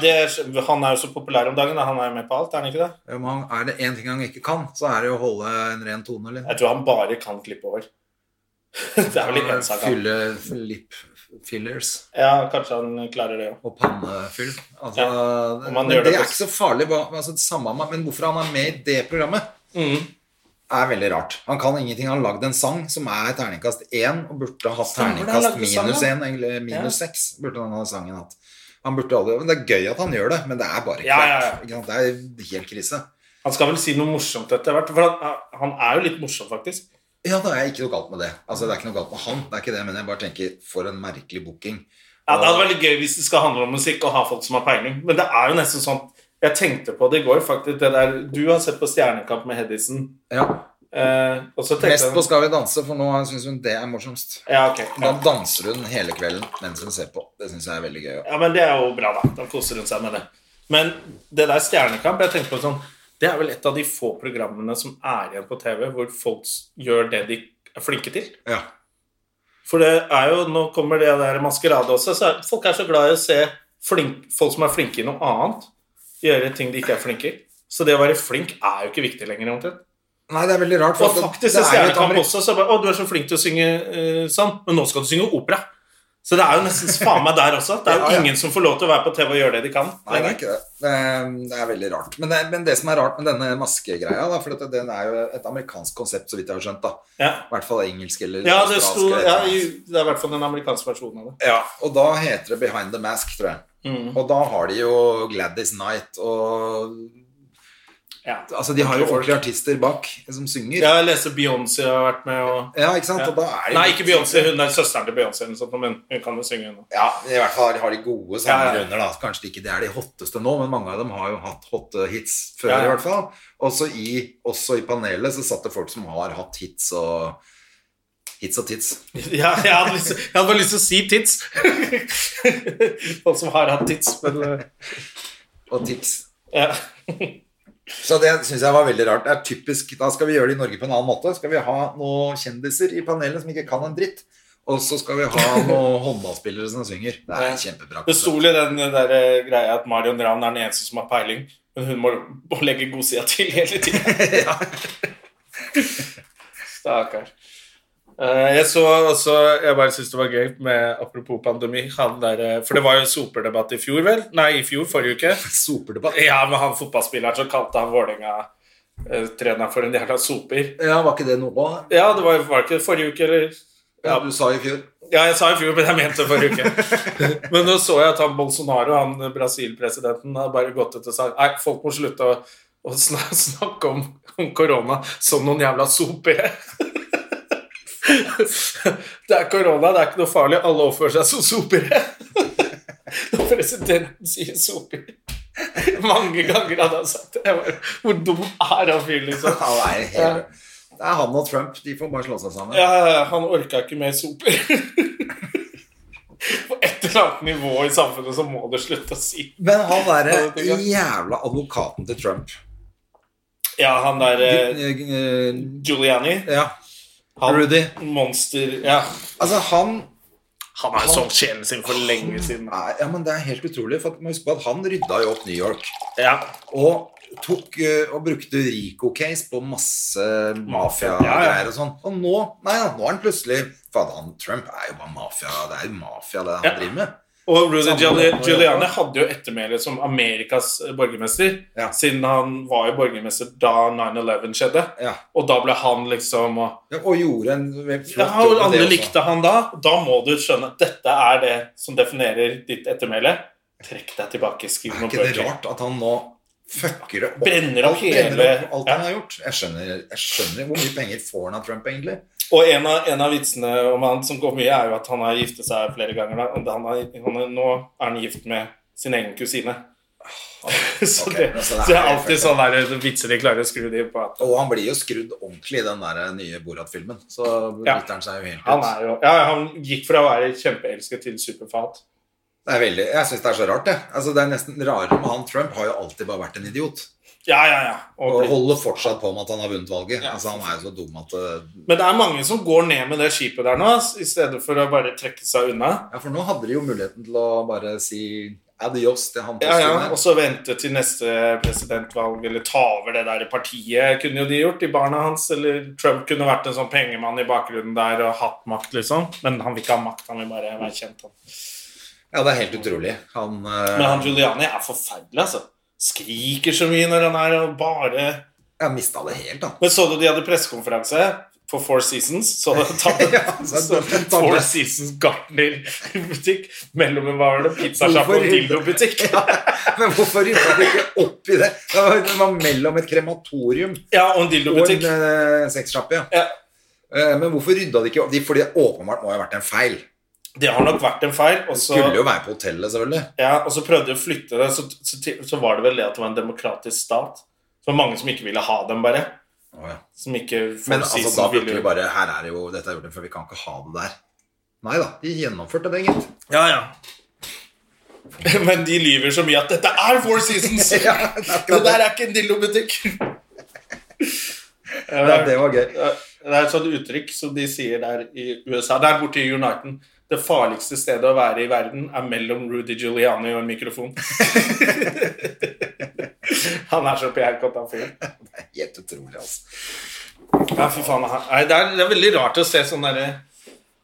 det, han er jo så populær om dagen. da. Han er jo med på alt, er han ikke det?
Ja, men han- er det én ting han ikke kan, så er det å holde en ren tone. Eller?
Jeg tror han bare kan klippe over. [laughs] Det er vel litt en sak. han.
Fylle lip fillers
Ja, kanskje han klarer det òg.
og pannefyll. Altså,
om
men
han
det,
gjør det
er
på-
ikke så farlig, hva- altså, det samme, med- men hvorfor han er med i det programmet,
Mm.
er veldig rart. Han kan ingenting. Han har lagd en sang som er terningkast én, og burde hatt
Stemmer det, han
terningkast
lagde sang,
minus
ja.
én, eller minus seks. Burde han ha sangen hatt. Han burde aldri, men Det er gøy at han gjør det, men det er bare
Ja, ja, ja.
crap, ikke sant? Det er helt krise.
Han skal vel si noe morsomt etter hvert. For han, han er jo litt morsom, faktisk.
Ja, da er ikke noe galt med det. Altså, Det er ikke noe galt med han, det er ikke det, men jeg bare tenker for en merkelig booking.
Ja, Det hadde vært litt gøy hvis det skal handle om musikk og ha folk som har peiling. Men det er jo nesten sånn Jeg tenkte på det i går, faktisk. Det der, du har sett på Stjernekamp med Hedison.
Ja,
Eh, og så tenkte
Mest
jeg
på Skal vi danse, for nå syns hun det er morsomst.
ja, ok.
Da danser hun hele kvelden mens hun ser på. Det syns jeg er veldig gøy.
Ja, men det er jo bra, da. Da koser hun seg med det. Men det der Stjernekamp, jeg tenkte på sånn Det er vel et av de få programmene som er igjen på TV hvor folk s- gjør det de er flinke til.
Ja.
For det er jo Nå kommer det der maskerade også, så er, folk er så glad i å se flink, folk som er flinke i noe annet, gjøre ting de ikke er flinke i. Så det å være flink er jo ikke viktig lenger, omtrent.
Nei, det er veldig rart.
Og
at
faktisk i
det er jo et
Stjernekamp
amerik-
også, så bare Å, du er så flink til å synge eh, sånn, men nå skal du synge opera. Så det er jo nesten faen meg der også. Det er
Ja,
jo
ja.
ingen som får lov til å være på TV og gjøre det de kan.
Nei, det er ikke det. Det er, um, det er veldig rart. Men det, men det som er rart med denne maskegreia, da, for at den er jo et amerikansk konsept, så vidt jeg har skjønt, da.
Ja.
I hvert fall engelsk eller
Ja, det,
australsk
sto,
eller et
ja,
eller annet.
i, det er i hvert fall den amerikanske versjonen av det.
Ja, og da heter det Behind the Mask, tror jeg.
Mm.
Og da har de jo Gladys Knight og
Ja.
Altså, de har jo ordentlige artister bak som synger.
Ja, jeg leste Beyoncé har vært med og
Ja, ikke sant?
ja.
Og da er det
Nei, ikke Beyoncé. Hun er søsteren til Beyoncé, eller noe sånt, men hun kan jo synge. Hun. også.
Ja, i hvert fall har de gode sanger
Ja, ja.
under, da. Kanskje ikke det er de hotteste nå, men mange av dem har jo hatt hotte hits før,
Ja, ja.
i hvert fall. Også i, også i panelet så satt det folk som har hatt hits og Hits og tits.
[laughs] Ja, jeg, hadde lyst, jeg hadde bare lyst til å si tits. [laughs] Folk som har hatt tits, men eh,
Og tips.
ja.
Så det syns jeg var veldig rart. Det er typisk, Da skal vi gjøre det i Norge på en annen måte. Skal vi ha noen kjendiser i panelet som ikke kan en dritt? Og så skal vi ha
[laughs]
noen håndballspillere som synger. Det er kjempebra.
Det sto vel i den der eh, greia at Marion Ravn er den eneste som har peiling, men hun må, må legge godsida til hele [laughs] tiden. Stakkar. Eh, Jeg så også, jeg bare synes det var gøy med Apropos pandemi han der, eh, For det var jo soperdebatt i fjor, vel? Nei, i fjor, forrige uke.
Soperdebatt.
Ja, men han fotballspilleren som kalte han Vålerenga-treneren for en jævla soper.
Ja, var ikke det noe òg?
Ja, det var, var det ikke forrige uke, eller?
Ja, du sa i fjor.
Ja, jeg sa i fjor, men jeg mente forrige uke. Men nå så jeg at han Bolsonaro, han Brasil-presidenten, har bare gått ut og sagt Nei, folk må slutte å, å sna- [laughs] snakke om, om korona som noen jævla sopere. [laughs] Det er korona, det er ikke noe farlig. Alle oppfører seg som sopere. [laughs] Når presidenten sier soper [laughs] mange ganger han har sagt det. Jeg bare, Hvor dum er han fyren,
[laughs]
liksom?
Ja, det, er helt, det er han og Trump. De får bare slå seg sammen.
Ja, ja, ja, han orka ikke mer [laughs] soper. På et eller annet nivå i samfunnet så må det slutte å si.
Men
[laughs] Ja,
han
det
derre
tenker jeg.
jævla advokaten til Trump
Ja, han der eh,
Eh,
Giuliani.
Ja.
Han,
Rudy.
Monster Ja.
Altså, han
Han har jo solgt sjelen sin for lenge siden.
Nei, Ja, men det er helt utrolig. For at man husker på at han rydda jo opp New York.
Ja.
Og tok eh, og brukte Rico-case på masse
Ja, ja.
mafia-greier og sånn. Og nå Nei da, nå er han plutselig Fader, han Trump er jo bare mafia. Det er jo mafia, det han
Ja.
driver med.
Og Rudy
Samme
Giul-
måte å
Giuliani
gjøre.
hadde jo ettermæle som Amerikas eh, borgermester,
Ja.
siden han var jo borgermester da 9-11 skjedde.
Ja.
Og da ble han liksom og
Ja, Og gjorde en flott
Ja, og
jobb med
alle
det også.
likte han da. Da må du skjønne at dette er det som definerer ditt ettermæle. Trekk deg tilbake, skriv
Er
noen
ikke det
bøker.
rart at han nå fucker det opp?
Brenner opp
alt,
hele-
opp alt
ja.
han har gjort. Jeg skjønner, jeg skjønner hvor mye penger får han av Trump, egentlig.
Og en av, en av vitsene om han som går mye, er jo at han har giftet seg flere ganger. Da. Og Han er, han er, nå er han gift med sin egen kusine. Så
Ah,
[laughs]
Ok,
det,
men så
så
det er
det er
helt
alltid sånn der vitser de klarer å skru de på. At
Og han blir jo skrudd ordentlig i den der nye Borat-filmen. Så
Ja.
driter han seg jo helt ut.
han, er jo, ja, han gikk fra å være kjempeelsket til superfat.
Det er veldig, jeg syns det er så rart, det. Altså, det er nesten rarere med han Trump. Har jo alltid bare vært en idiot.
Ja, ja, ja. Og
Og
blir-
holder fortsatt på med at han har vunnet valget.
Ja.
Altså, han er jo så dum at eh,
Men det er mange som går ned med det skipet der nå, ass, i stedet for å bare trekke seg unna.
Ja, for nå hadde de jo muligheten til å bare si adios til han
Ja, ja,
tosken
Og
der.
så vente til neste presidentvalg, eller ta over det der partiet, kunne jo de gjort, de barna hans. Eller Trump kunne vært en sånn pengemann i bakgrunnen der og hatt makt, liksom. Men han vil ikke ha makt, han vil bare være kjent. Han.
Ja, det er helt utrolig. Han, eh,
Men han Giuliani er forferdelig, altså. Skriker så mye når han er og bare
Jeg mista det helt, da.
Men så du de hadde pressekonferanse på Four Seasons? Så hadde [laughs] tabben,
Ja, så
så
hadde tabben.
Four Seasons gartnerbutikk mellom en var det pizzasjappe
Hvorfor-
og dildobutikk.
Men hvorfor rydda de ikke opp i det? Det var, det var mellom et krematorium
Ja, og en
og en
dildobutikk.
eh, sexsjappe. Ja.
Ja,
Eh, men hvorfor rydda de ikke opp? De, fordi det åpenbart må ha vært en feil.
det har nok vært en feil. Og så,
Skulle jo være på hotellet, selvfølgelig.
ja, og så prøvde de å flytte det, så, så, til- så var det vel det at det var en demokratisk stat. Så det var mange som ikke ville ha dem, bare.
Å, ja.
Som ikke Four
Men altså,
Seasons
da burde
ville
vi bare Her er det jo Dette er gjort for vi kan ikke ha det der. Nei da, de gjennomførte det,
[laughs]
gitt.
Ja, ja. [laughs] Men de lyver så mye at 'dette er Four Seasons'!
[laughs] Ja, det er akkurat
det der er ikke en dildobutikk!
[laughs] Ja, det var gøy.
Det er et sånt uttrykk som de sier der i USA. Der borte i Uniten. Det farligste stedet å være i verden er mellom Rudy Giuliani og en
[laughs]
mikrofon. [laughs] han er så PR-kåt, han fyren.
Helt utrolig, altså.
Ja, fy faen. han- Nei, det, er, det er veldig rart å se sånne der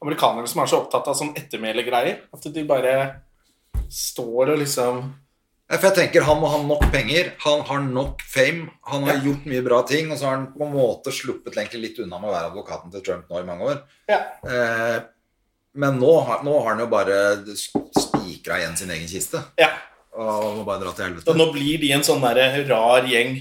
amerikanere som er så opptatt av sånn ettermælegreier. At de bare står og liksom
Ja, For jeg tenker Han må ha nok penger, han har nok fame, han har gjort mye bra ting, og så har han på en måte sluppet egentlig litt unna med å være advokaten til Trump nå i mange år.
Ja.
Eh, men nå har, nå har han jo bare spikret spikra igjen sin egen kiste.
Ja.
Og må bare dra til
Så
helvete.
nå blir de en sånn der rar gjeng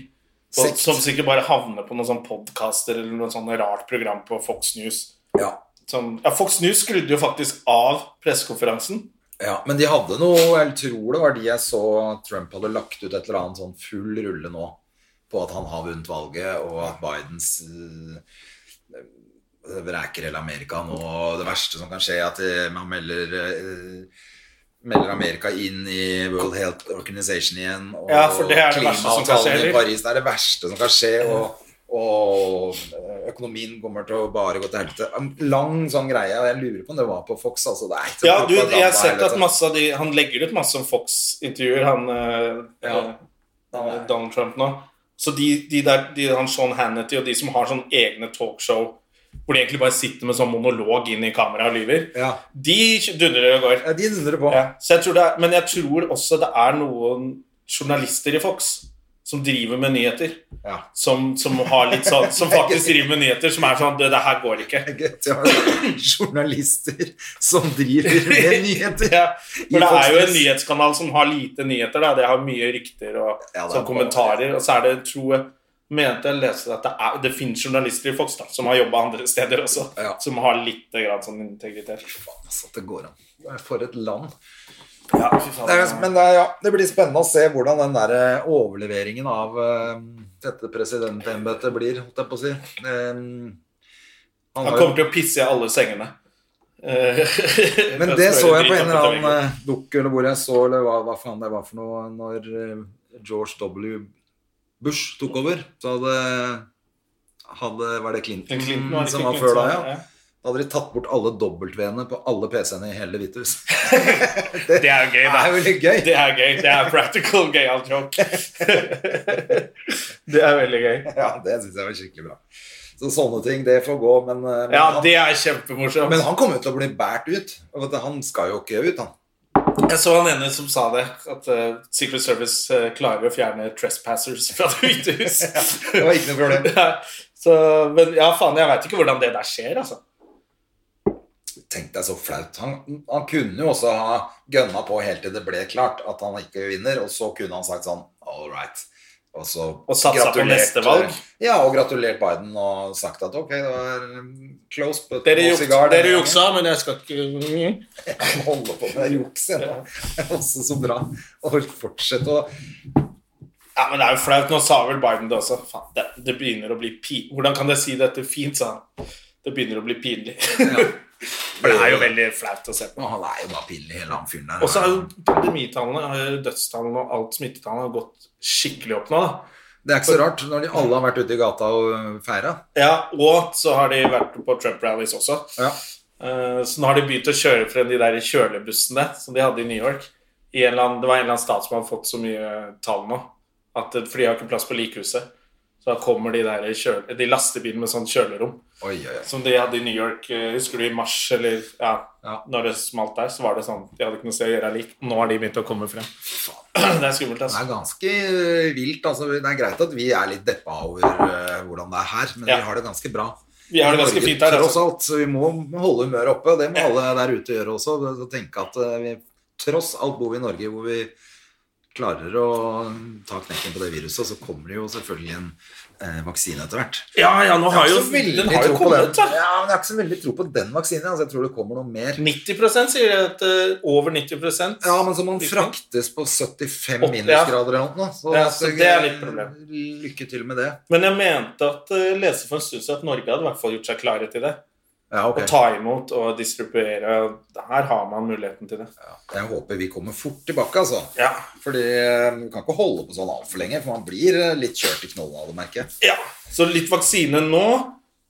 på,
Sekt.
som sikkert bare havner på noen sånn podkaster eller noe sånn rart program på Fox News.
Ja.
Som, ja, Fox News skrudde jo faktisk av pressekonferansen.
Ja, men de hadde noe, jeg tror det var de jeg så at Trump hadde lagt ut et eller annet sånn full rulle nå på at han har vunnet valget, og at Bidens eh, eh, vreker hele Amerika nå, og det verste som kan skje er at eh, man melder eh, melder Amerika inn i World Health Organization igjen, og
Ja, for det er det verste som kan skje,
klimaavtalen i
eller?
Paris det er det verste som kan skje, og, og eh, økonomien kommer til å bare gå til helvete. En lang sånn greie, og jeg lurer på om det var på Fox, altså. Det er ikke
Ja, du, jeg har sett at
helvete.
masse av de Han legger ut masse om Fox-intervjuer, han eh,
Ja.
eh, Donald Trump nå. Så de, de der, de, han Sean Hannity og de som har sånne egne talkshow hvor de egentlig bare sitter med sånn monolog inn i kameraet og lyver,
Ja.
de dundrer og går.
Ja, de dundrer på.
Ja. Så jeg tror det er, men jeg tror også det er noen journalister i Fox som driver med nyheter.
Ja.
Som, som, har litt sånn, som faktisk driver med nyheter, som er sånn Det, det her går ikke.
Gøtt, ja. [coughs] Journalister som driver
[laughs]
med nyheter.
Ja, for det er jo en
Fox News.
nyhetskanal som har lite nyheter. Da. Det har mye rykter og
Ja, det er
sånn
bra.
kommentarer. Og så er det, tror jeg, mente jeg leste at det, er, det finnes journalister i Fox da, som har jobba andre steder også,
Ja.
som har litt grann sånn integritet.
Altså, det går an. Det er For et land.
Ja, fy faen.
Det er, men det, er- ja, det blir spennende å se hvordan den der eh, overleveringen av eh, dette presidentembetet blir, holdt jeg på å si. Eh, han
Han
har jo-
kommer til å pisse i alle
[laughs]
sengene. Eh,
men det
skal
så jeg
være dritt
på en eller
opp etter
annen
[laughs]
eh, dukk eller hvor jeg så, eller hva, hva faen det var for noe, når eh, George W. Bush tok over, så hadde, hadde Var det Clinton,
veggen. Clinton var det
eh, mm, som
ikke
var før da?
Clinton,
ja. Da hadde de tatt bort alle W-ene på alle PC-ene i hele Hvithus.
[laughs] Det er jo gøy,
Det
da.
[laughs] er jo litt gøy.
Det er gøy. Det er practical gøyal
[laughs]
joke. [laughs] det er veldig gøy.
Ja, det syns jeg var skikkelig bra. Så sånne ting, det får gå, men, eh, men,
Ja,
han,
det er kjempemorsomt.
men han kommer jo til å bli båret ut. Og vet du, Han skal jo ikke ut, han.
Jeg så han ene som sa det, at eh, Secret Service eh, klarer å fjerne trespassers fra Det hvite
[laughs]
hus.
Det var ikke noe problem.
[laughs] Ja, så, men ja, faen, jeg veit ikke hvordan det der skjer, altså.
Tenk deg så flaut. Han, han kunne jo også ha gønna på helt til det ble klart at han ikke vinner, og så kunne han sagt sånn all right. Og, så
Og satsa på
gratulert- eh,
neste valg.
Ja, og gratulert Biden og sagt at ok, det var mm, close but
Dere,
no
juk,
cigar denne
dere
gangen.
juksa, men jeg skal ikke
[laughs] holde på med juks ennå. Det er [laughs] også så bra. Og fortsette å
Ja, men det er jo flaut. Nå sa vel Biden det også. Faen, det, det begynner å bli pi... Hvordan kan jeg si dette fint, sa han. Det begynner å bli pinlig. [laughs] For det er jo veldig flaut å se på.
Å, Han er jo bare pinlig, hele han fyren der.
Og så er jo pandemitallene, eh, dødstallene og alt smittetallene har gått skikkelig opp nå, da.
Det er ikke så rart når de alle har vært ute i gata og feira.
Ja, og så har de vært på Trump-rallies også.
Ja.
Eh, Så nå har de begynt å kjøre frem de der kjølebussene som de hadde i New York. I en eller annen, det var en eller annen stat som hadde fått så mye tall nå, at, eh, for de har ikke plass på likhuset. Så da kommer de, der kjøle, de lastebilene med sånn kjølerom
Oi, oi, oi.
som de hadde i New York. eh, Husker du i mars, eller ja,
Ja.
når det smalt der, så var det sånn De hadde ikke noe sted å gjøre lik. Nå har de begynt å komme frem. [clears throat] Det er skummelt,
Det
altså.
er ganske eh, vilt. altså Det er greit at vi er litt deppa over eh, hvordan det er her, men
Ja.
vi har det ganske bra.
Vi har det
I
ganske
Norge,
fint her.
Tross
Altså.
alt, så vi må holde humøret oppe, og det må alle der ute gjøre også. Så tenke at eh, vi tross alt bor vi i Norge hvor vi klarer å ta knekken på det viruset, og så kommer det jo selvfølgelig en eh, vaksine etter hvert.
Ja, ja, nå har jo
så veldig
Den har
tro
jo
på
kommet, da.
den. Ja, men jeg har ikke så veldig tro på den vaksinen. Altså, jeg tror det kommer noe mer.
90 sier de at eh, over 90
Ja, men så må den
Virkelig?
fraktes på 75
Åtte, ja.
minusgrader eller noe. Så,
Ja, så det er litt problem.
Lykke til med det.
Men jeg mente at eh, leste for en stund siden at Norge hadde i hvert fall gjort seg klare til det.
Ja, ok.
Å ta imot og distribuere. og Her har man muligheten til det.
Jeg håper vi kommer fort tilbake, altså.
Ja.
Fordi eh, vi kan ikke holde på sånn altfor lenge, for man blir eh, litt kjørt i knollen av det, merker jeg.
ja. Så litt vaksine nå,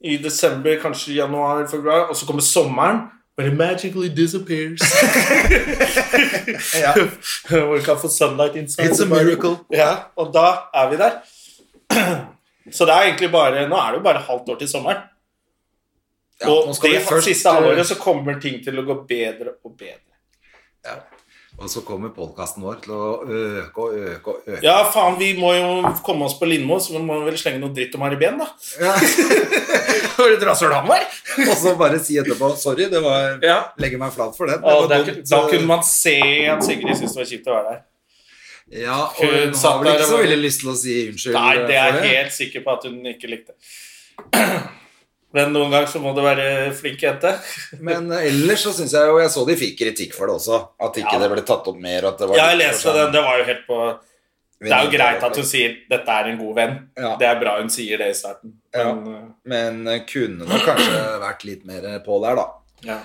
i desember, kanskje i januar, februar, og så kommer sommeren. But it magically disappears. [laughs]
Ja.
Hvor du kan få sunlight inside.
[laughs] It's a
the body.
miracle.
Ja, og da er vi der. [clears throat] Så det er egentlig bare Nå er det jo bare halvt år til sommeren.
Ja,
og
nå skal
det
vi først,
siste halvåret
eh,
så kommer ting til å gå bedre og bedre.
ja. Og så kommer podkasten vår til å øke og øke og øke.
Ja, faen, vi må jo komme oss på Lindmo, så vi må vel slenge noe dritt om Ariben,
[laughs]
da. Har du rasshøl han var?
Og så bare si etterpå 'sorry, det var
Ja.
Legger meg flat for den. Det
Og
var
da,
dumt,
da
så-
kunne man se at Sigrid syntes det var kjipt å være der.
Ja, og
Hun
hun
satt
har
der
vel ikke
og
så
bare-
veldig lyst til å si unnskyld.
Nei, det er
for
jeg helt sikker på at hun ikke likte. [clears throat] Men noen ganger så må det være flink jente.
Men eh, ellers så syns jeg jo Jeg så de fikk kritikk for det også. At ikke
Ja.
det ble tatt opp mer. At det var
Jeg
litt for
leste
sånn-
den, det var jo helt på Det er jo greit at hun sier 'dette er en god venn'.
Ja.
Det er bra hun sier det i starten.
Ja.
Men, eh,
Men eh, kunne nok kanskje vært litt mer på der, da.
ja.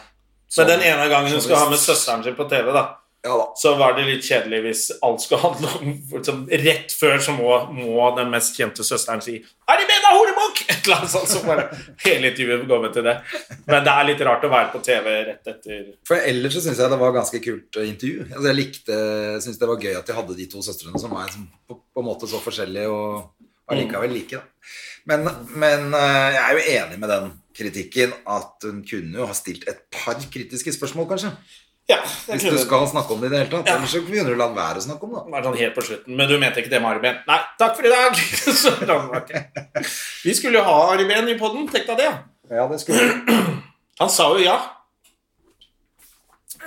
Så-
Men den ene gangen hun
Sånn. så
skulle
hvis-
ha med søsteren sin på TV, da,
Ja da.
så var det litt kjedelig hvis alt skulle handle om liksom, Rett før så må, må den mest kjente søsteren si 'Er de med deg, horebukk?' Et eller annet sånt. Så bare hele intervjuet går med til det. Men det er litt rart å være på TV rett etter
For ellers så syns jeg det var ganske kult eh, intervju. Altså, jeg likte synes det var gøy at de hadde de to søstrene som var liksom, på, på en måte så forskjellige og allikevel like, da. Men, men eh, jeg er jo enig med den kritikken at hun kunne jo ha stilt et par kritiske spørsmål, kanskje.
Ja, det
Hvis du
kunne det
skal snakke om det i det hele tatt. Ellers så kunne du latt være å snakke om det. da.
vært sånn helt på slutten. Men du mente ikke det med Ariben? Nei, takk for i dag! [laughs] så langt var det ikke. Vi skulle jo ha Ariben i poden, tenk deg det.
Ja, det skulle
Han sa jo ja.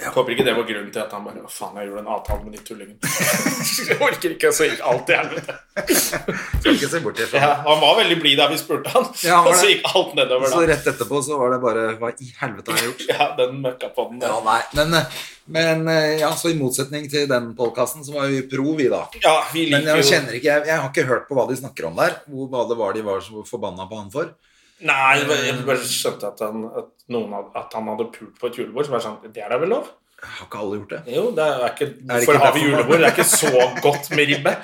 Jeg håper ikke det var grunnen til at han bare Hva faen, jeg gjorde en avtale med de tullingene. [laughs] jeg orker ikke, så gikk alt i helvete.
skal ikke se bort
Ja,
ifra.
han var veldig blid da vi spurte han,
Ja, han var
og så
det.
gikk alt nedover
Så
da.
rett etterpå så var det bare Hva i helvete har jeg gjort?
[laughs] Ja, den møkkapodden. der.
Ja, nei, men, men eh, ja, så i motsetning til den podkasten, så var vi pro, vi, da.
Ja, vi
Men
liker
jeg
jo
kjenner ikke, jeg, jeg har ikke hørt på hva de snakker om der. Hvor hva det var de var så forbanna på han for.
Nei, jeg bare- jeg bare skjønte at han, at, noen hadde, at han hadde pult på et julebord. Så var jeg sånn Det er da vel lov?
Har ikke alle gjort det?
Jo, det er ikke
det
For
ikke
har vi
derfor man-
julebord? Det er ikke så godt med [laughs] ribbe.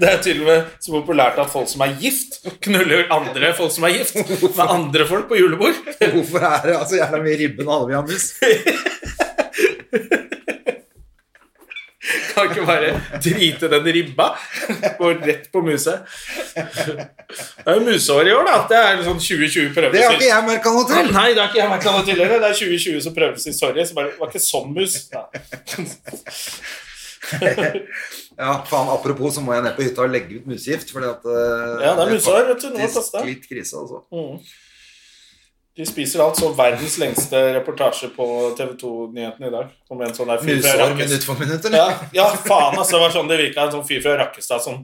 Det er til og med så populært at folk som er gift, knuller andre folk som er gift med andre folk på julebord.
Hvorfor er det altså jævla mye ribbe når alle vil ha
[laughs]
mus?
Kan ikke bare drite den ribba. Går rett på muset. Det er jo museår i år, da. Det er sånn 2020 prøves
Det har ikke jeg merka noe til!
Nei, det har ikke jeg vært noe tidligere. Det er 2020 som prøves i sorry. Så bare, det var ikke sånn mus. Nei.
Ja, faen, Apropos, så må jeg ned på hytta og legge ut musegift. Fordi at eh,
Ja, det er museår, vet du. Nå er det
faktisk
pasta.
litt krise, altså.
De spiser alt så verdens lengste reportasje på TV 2-nyhetene i dag. Om en sånn der fyr fra
Museår
Rakkestad.
minutt for minutt,
Ja,
eller?
ja, faen, altså. Det var sånn det virka. En sånn fyr fra Rakkestad som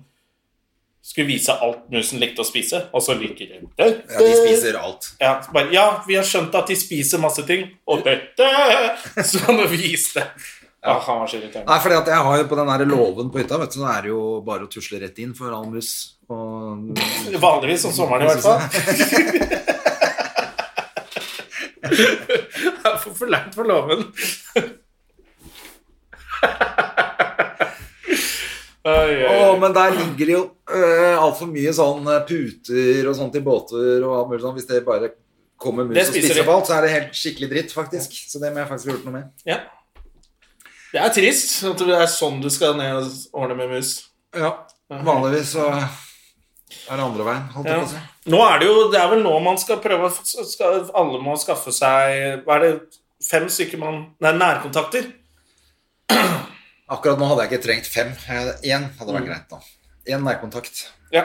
skulle vise alt musen likte å spise, og så liker de det.
Ja, de spiser alt.
Ja, så bare, ja, vi har skjønt at de spiser masse ting, og dette [laughs] Så han viste Ja, han var så irriterende.
Nei, fordi at jeg har jo på den der låven på hytta, vet du, så er det jo bare å tusle rett inn for all mus. Og
Vanligvis om sommeren, i hvert [laughs] fall. Det er for langt for låven. [laughs] Oi, oi,
Å,
oi.
men der ligger det jo øh, altfor mye sånn øh, puter og sånt i båter og alt mulig sånn. Hvis det bare kommer mus
Det
og
spiser
spiser
de.
opp alt, så er det helt skikkelig dritt, faktisk. Så det må jeg faktisk ha gjort noe med.
Ja. Det er trist at det er sånn du skal ned og ordne med mus.
Ja, vanligvis så er det andre veien, holdt jeg på å si.
Nå er det jo, det er vel nå man skal prøve å- skal, Alle må skaffe seg Hva er det? Fem stykker man Nei, nærkontakter.
Akkurat nå hadde jeg ikke trengt fem. Én hadde vært greit, da. Én nærkontakt.
Ja.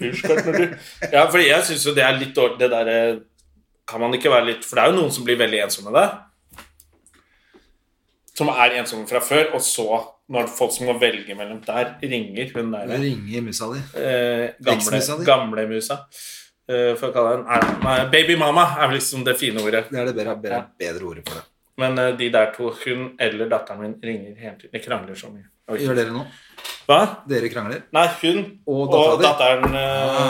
Urskart, når du- ja, for jeg syns jo det er litt dårlig Det derre Kan man ikke være litt For det er jo noen som blir veldig ensomme der. Som er ensomme fra før, og så, når folk som må velge mellom der, ringer hun der.
Ringe musa di.
eh, gamle,
Eksmusa di?
gamle musa. Eh, for å kalle den nei, nei, Baby mama er vel liksom det fine ordet.
Det er det bedre, bedre, bedre ordet for det.
Men eh, de der to, hun eller datteren min, ringer hele tiden. De krangler så mye. Oi.
Gjør dere nå?
Hva?
Dere krangler?
Nei, hun
Og
og,
datteren din?
datteren
Ah.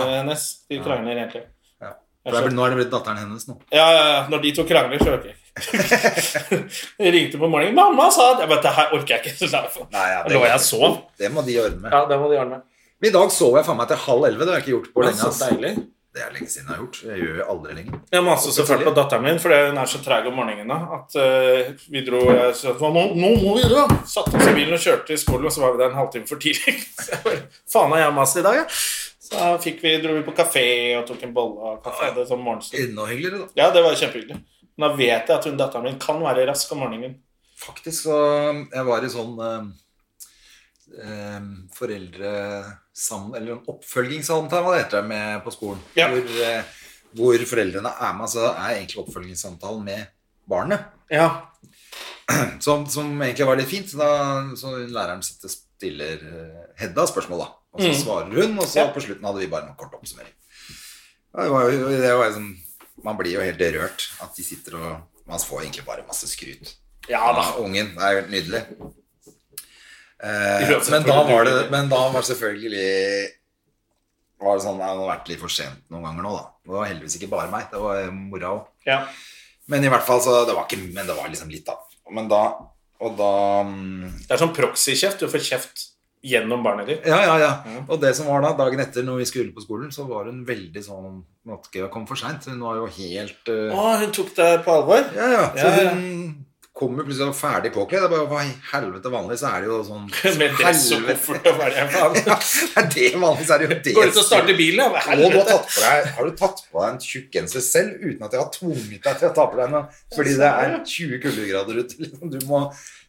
eh, hennes. De krangler hele tiden.
Ja. For det er vel- nå er det blitt datteren hennes nå.
Ja, ja, ja. Når de to krangler, så [laughs] orker jeg ikke. Jeg ringte på morgenen. 'Mamma sa at Jeg bare, det her orker jeg ikke. [laughs] Så derfor
Nei, ja, det-
lå jeg og sov.
Det må de ordne med.
Ja, det må de ordne.
Men I dag sov jeg faen meg til halv elleve. Det har jeg ikke gjort på
Det er
lenge.
så
ass.
deilig.
Det er lenge siden jeg har gjort. Jeg gjør jo aldri lenger.
Jeg maser selvfølgelig på datteren min, fordi hun er så treg om morgenene. At eh, vi dro jeg sa, "Hva nå, nå må vi dra! Satte oss i bilen og kjørte til skolen, og så var vi der en halvtime for tidlig. [laughs] Så jeg bare, Faen har jeg mast i dag, ja. Så da fikk vi, dro vi på kafé og tok en bolle og kaffe. Det, sånn morgenstund.
Enda hyggeligere, da.
ja, det var kjempehyggelig. Men da vet jeg at hun datteren min kan være rask om morgenen.
faktisk så Jeg var i sånn eh, eh, foreldresam... Eller en oppfølgingssamtale, hva det heter, med på skolen.
Ja.
Hvor, eh, hvor foreldrene er med. Så er egentlig oppfølgingssamtalen med barnet.
Ja.
Som, som egentlig var litt fint. så Da, så læreren sitter stiller eh, Hedda spørsmål, da. Og så svarer hun, og så
Ja.
på slutten hadde vi bare en kort oppsummering. Ja, Det var jo, det var jo sånn, man blir jo helt rørt at de sitter og Man får egentlig bare masse skryt.
Ja da.
Av Ungen. Det er jo helt nydelig. Eh,
Ja, selvfølgelig.
men, da var det, men da var selvfølgelig var det sånn, Det har vært litt for sent noen ganger nå, da. Det var heldigvis ikke bare meg. Det var mora òg.
Ja.
Men i hvert fall så det var ikke, men det var liksom litt da. Men da, og da mm,
Det er sånn proxykjeft. Du får kjeft gjennom barnet ditt.
Ja, ja, ja. Og det som var da, dagen etter når vi skulle på skolen, så var hun veldig sånn Måtte ikke komme for seint. Hun var jo helt eh,
Å, hun tok deg på alvor?
Ja, ja. Så
Ja, ja.
hun kommer plutselig og er ferdig påkledd. Jeg bare, Hva i helvete vanlig, så er det jo sånn
[laughs] Med dress og
Helvete.
koffert og hva det er for noe.
[laughs]
[laughs]
Ja, det er det vanlig, så er det jo det
Går ut og starter bilen, ja. Hva
Og du har,
helvete?
tatt på deg, har du tatt på deg en tjukk genser selv uten at jeg har tvunget deg til å ta på deg noe? Fordi det er 20 kuldegrader ute. Liksom. Du må,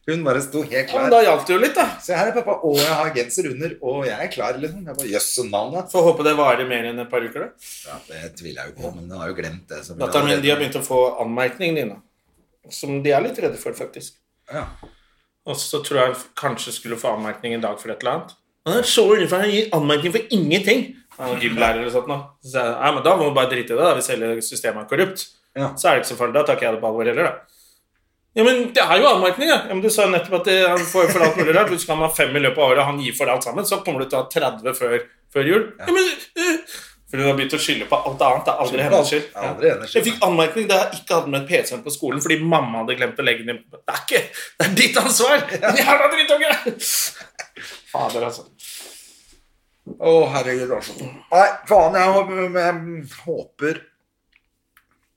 hun bare sto helt
Ja, men da
klar.
hjalp det jo litt, da.
Se her er pappa, og jeg har genser under, og jeg er klar. Liksom. Jeg bare, Jøsse navnet.
Får håpe det varer mer enn et par uker, da.
Ja, det tviler jeg jo på, men hun har jo glemt det. så hun
Datteren min de har
allerede-
begynt å få anmerkninger dine. Som de er litt redde for, faktisk.
Ja.
Og så tror jeg hun kanskje skulle få anmerkning en dag for et eller annet. Han er så redd for han gir anmerkning for ingenting. Han er gymlærer eller sånt nå. Så sier jeg, Nei, men da må du bare drite i det, da, hvis hele systemet er korrupt.
Ja.
Så er det ikke så farlig. Da tar ikke jeg det på alvor heller, da. Ja, men det er jo anmerkning, ja. ja men du sa jo nettopp at det, han får for alt mulig rart. Hvis han har fem i løpet av året, og han gir for alt sammen, så kommer du til å ha 30 før, før jul. Ja. men... øh, for hun har begynt å skylde på alt annet. Det er aldri
Skylder på
hennes
alt.
skyld.
Det er aldri hennes skyld,
Jeg fikk anmerkning da jeg ikke hadde med PC-en på skolen fordi mamma hadde glemt å legge den inn. Det er ikke Det er ditt ansvar! Din Jævla drittunge! Fader, altså.
Å, herregud, det var så dumt. Nei, faen, jeg, håper- jeg håper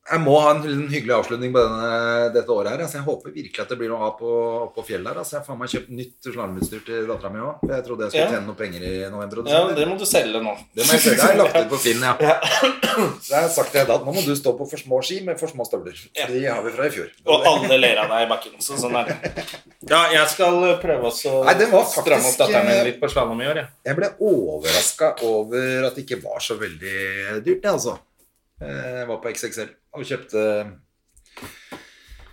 Jeg må ha en en hyggelig avslutning på denne, dette året her. Altså, jeg håper virkelig at det blir noe av på, på fjellet her. Altså, jeg har faen meg kjøpt nytt slalåmutstyr til dattera mi òg. Jeg trodde jeg skulle
Ja.
tjene noen penger i november. og
Ja,
desember.
det må du selge nå.
Det må jeg selge. Jeg har lagt ut på Finn, ja. Så jeg har sagt til Hedda at nå må du stå på for små ski med for små støvler.
Ja.
De har vi fra i fjor.
Og alle ler av deg i bakken. Så sånn er det. Ja, jeg skal eh, prøve også å
Nei, det var faktisk- eh,
stramme opp datteren min litt på slalåm i år, jeg.
Jeg ble overraska over at det ikke var så veldig dyrt, det, altså. Eh, Jeg var på XXL og kjøpte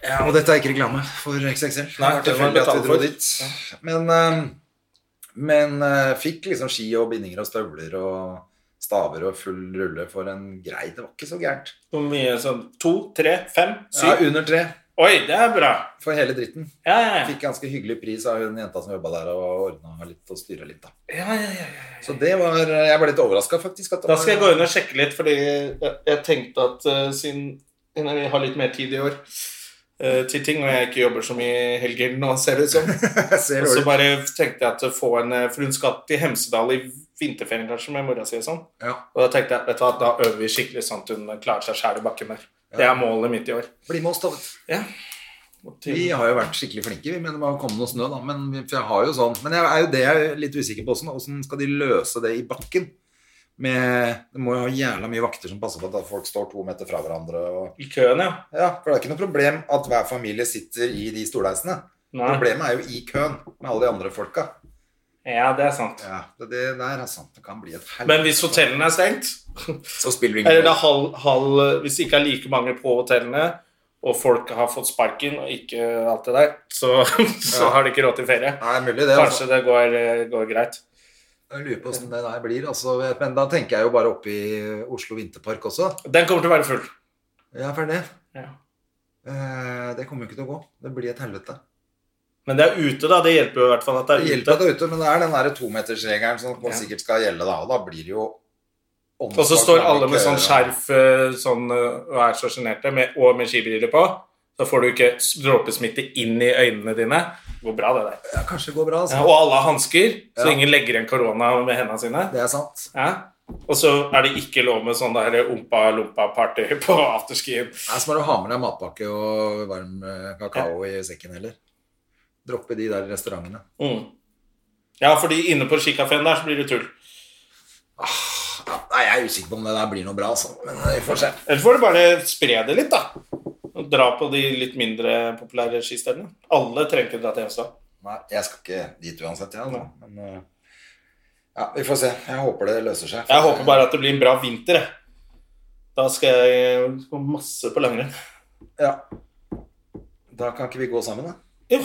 ja, Og dette er ikke reklame for XXL. Det
Nei,
var
det må jeg
tilfeldig at vi
betale
dro
for.
dit. Men, eh, men eh, fikk liksom ski og bindinger og støvler og staver og full rulle for en grei Det var ikke så gærent.
Hvor mye sånn To, tre, fem,
Ja,
syv?
under tre
Oi, det er bra.
for hele dritten.
Ja, ja, ja.
Fikk ganske hyggelig pris av hun jenta som jobba der og ordna litt og styra litt, da.
ja, ja, ja, ja.
Så det var Jeg ble litt overraska, faktisk. At det
Da
var-
skal
[laughs]
jeg gå inn og sjekke litt, fordi jeg, jeg tenkte at eh, siden siden vi har litt mer tid i år eh, til ting, og jeg ikke jobber så mye i helger nå, ser det ut
[laughs]
som,
Jeg ser
og så
dårlig.
bare tenkte jeg at å få en eh, For hun skal til Hemsedal i vinterferien, kanskje, med mora si og sånn.
Ja.
Og da tenkte jeg vet du hva, da øver vi skikkelig sånn at hun klarer seg sjæl i bakken der. Det er målet mitt i år.
Bli med oss, da. vet du.
Ja. Og til-
Vi har jo vært skikkelig flinke, vi, men det må komme noe snø, da. Men, vi- for jeg har jo sånn. men jeg er jo det jeg er litt usikker på. Hvordan, hvordan skal de løse det i bakken? Med, det må jo ha jævla mye vakter som passer på at folk står to meter fra hverandre. Og,
I køen, ja.
ja, For det er ikke noe problem at hver familie sitter i de stolheisene.
Nei.
Problemet er jo i køen med alle de andre folka.
Ja, det er sant.
Ja, det, det der er sant. Det kan bli et
Men
helvete.
hvis hotellene er stengt
Så spiller det
Eller det
ingen
er halv, halv Hvis det ikke er like mange på hotellene, og folk har fått sparken og ikke alt det der, så, [laughs] så har de ikke råd til ferie.
Nei, mulig det. altså.
Kanskje det går, eh, går greit.
Jeg lurer på hvordan det der blir. Altså, men da tenker jeg jo bare oppe i Oslo Vinterpark også.
Den kommer til å være full.
Ja, for det.
Ja.
Eh, det kommer jo ikke til å gå. Det blir et helvete.
Men det er ute, da. Det hjelper jo i hvert fall at det
Det
er ute.
hjelper at det er ute, men det er den der tometersregelen som
Ja.
sikkert skal gjelde da. Og da blir det jo
Og så står alle med sånn skjerf eh, sånn, eh, og er så sjenerte, med- og med skibriller på. Da får du ikke s- dråpesmitte inn i øynene dine. Det går bra, det der.
Ja, kanskje det går bra,
Ja,
altså.
Og alle har hansker, så
Ja.
ingen legger igjen korona med hendene sine.
Det er sant.
Ja. Og så er det ikke lov med sånn der ompa-lompa-party [laughs] på afterskien.
Det er som bare å ha med deg matpakke og varm eh, kakao i sekken heller. Droppe de der restaurantene.
Mm. Ja, fordi inne på skikafeen der så blir det tull.
Nei, jeg er usikker på om det der blir noe bra, altså. Men eh, vi får se.
Eller får du bare spre det litt, da. Dra på de litt mindre populære skistedene. Alle trenger ikke dra til Hemsedal.
Nei, jeg skal ikke dit uansett, jeg. altså. Men eh, ja, vi får se. Jeg håper det løser seg.
Jeg håper bare at det blir en bra vinter. jeg. Da skal jeg gå masse på langrenn.
Ja. Da kan ikke vi gå sammen, da?
Jo,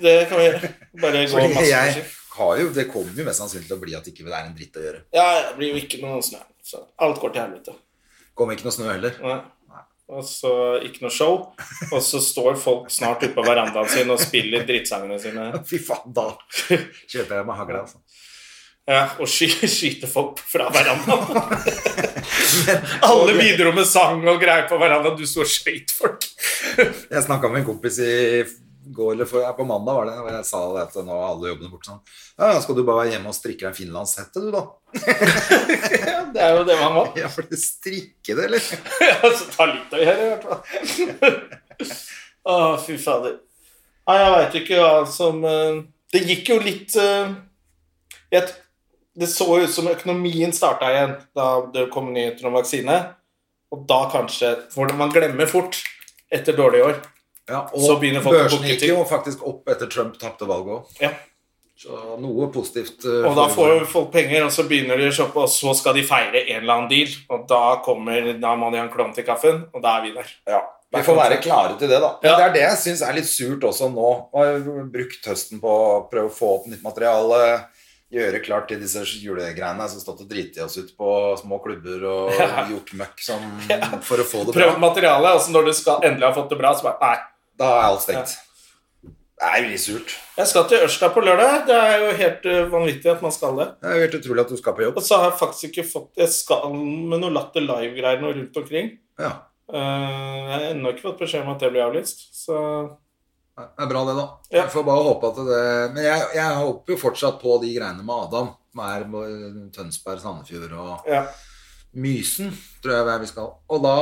det kan vi gjøre. Bare gå
Fordi
masse på
jeg
ski.
har jo, Det kommer jo mest sannsynlig til å bli at ikke det er en dritt å gjøre.
Ja, det blir jo ikke noe snø. Så alt går til helvete.
Kommer ikke noe snø heller.
Nei. Og så ikke noe show. Og så står folk snart ute på verandaen sin og spiller drittsangene sine.
Fy faen, da [laughs] kjøper jeg meg hagle, altså.
Ja, og sky skyter folk fra
[laughs]
verandaen. Alle bidro med sang og greier på verandaen. Du sto og skøyt folk.
Jeg snakka med en kompis i går eller for, ja, på mandag, var det, og jeg sa det at nå er alle jobbene borte. Sånn. Ja, ja, skal du bare være hjemme og strikke deg en finlandshette, du, da? [laughs]
Ja, det er jo det man må.
Ja, for det strikke det, eller?
Altså, ta litt å gjøre, i hvert fall. Å, fy fader. Nei, jeg veit ikke hva som eh, Det gikk jo litt eh, jeg, t- Det så jo ut som økonomien starta igjen da det kom nyheter om vaksine. Og da kanskje For man glemmer fort etter dårlige år.
Ja, og
Så begynner folk å
børsen
booke
gikk
ting.
jo faktisk opp etter Trump tapte valget òg.
Ja.
Så noe positivt. eh,
Og da får
foregår.
jo folk penger, og så begynner de å shoppe, og så skal de feire en eller annen deal. Og da kommer Da må de ha en klovn til kaffen, og da er vi der.
Ja, Vi får være klare til det, da. Men
Ja.
Det er det jeg syns er litt surt også nå. Nå har jeg brukt høsten på å prøve å få opp nytt materiale. Gjøre klart til disse julegreiene som stått og driti oss ut på små klubber og
[laughs]
gjort møkk som, for å få det
Prøv
bra.
materialet, og så når du skal, endelig har fått det bra, så bare Nei.
Da er alt stengt. Det er jo litt surt.
Jeg skal til Ørsta på lørdag. Det er jo helt eh, vanvittig at man skal det.
Det er jo helt utrolig at du skal på jobb. altså.
Og så har jeg faktisk ikke fått Jeg skal med noe Latter Live-greier nå rundt omkring.
Ja,
Eh, jeg har ennå ikke fått beskjed om at det blir avlyst, så
Det er bra, det, da.
Ja.
Jeg får bare håpe at det Men jeg, jeg håper jo fortsatt på de greiene med Adam. Som er med Tønsberg, Sandefjord og
ja.
Mysen, tror jeg vi skal. Og da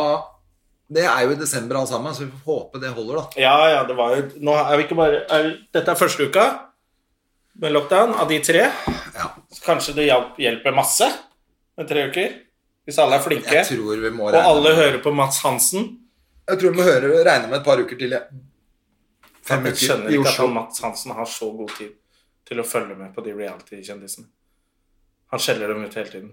Det er jo i desember alt sammen, så vi får håpe det holder, da.
Ja, ja, det var jo Nå er vi ikke bare er, Dette er første uka med lockdown av de tre.
Ja.
Så kanskje det hjelp- hjelper masse med tre uker. Hvis alle er flinke,
Jeg tror vi må
og
regne
alle
med,
hører på Mats Hansen.
jeg tror vi må høre, regne med et par uker til. jeg. Fem
Jeg skjønner
uker i
ikke at
Oslo.
han, Mats Hansen har så god tid til å følge med på de reality-kjendisene. Han skjeller dem ut hele tiden.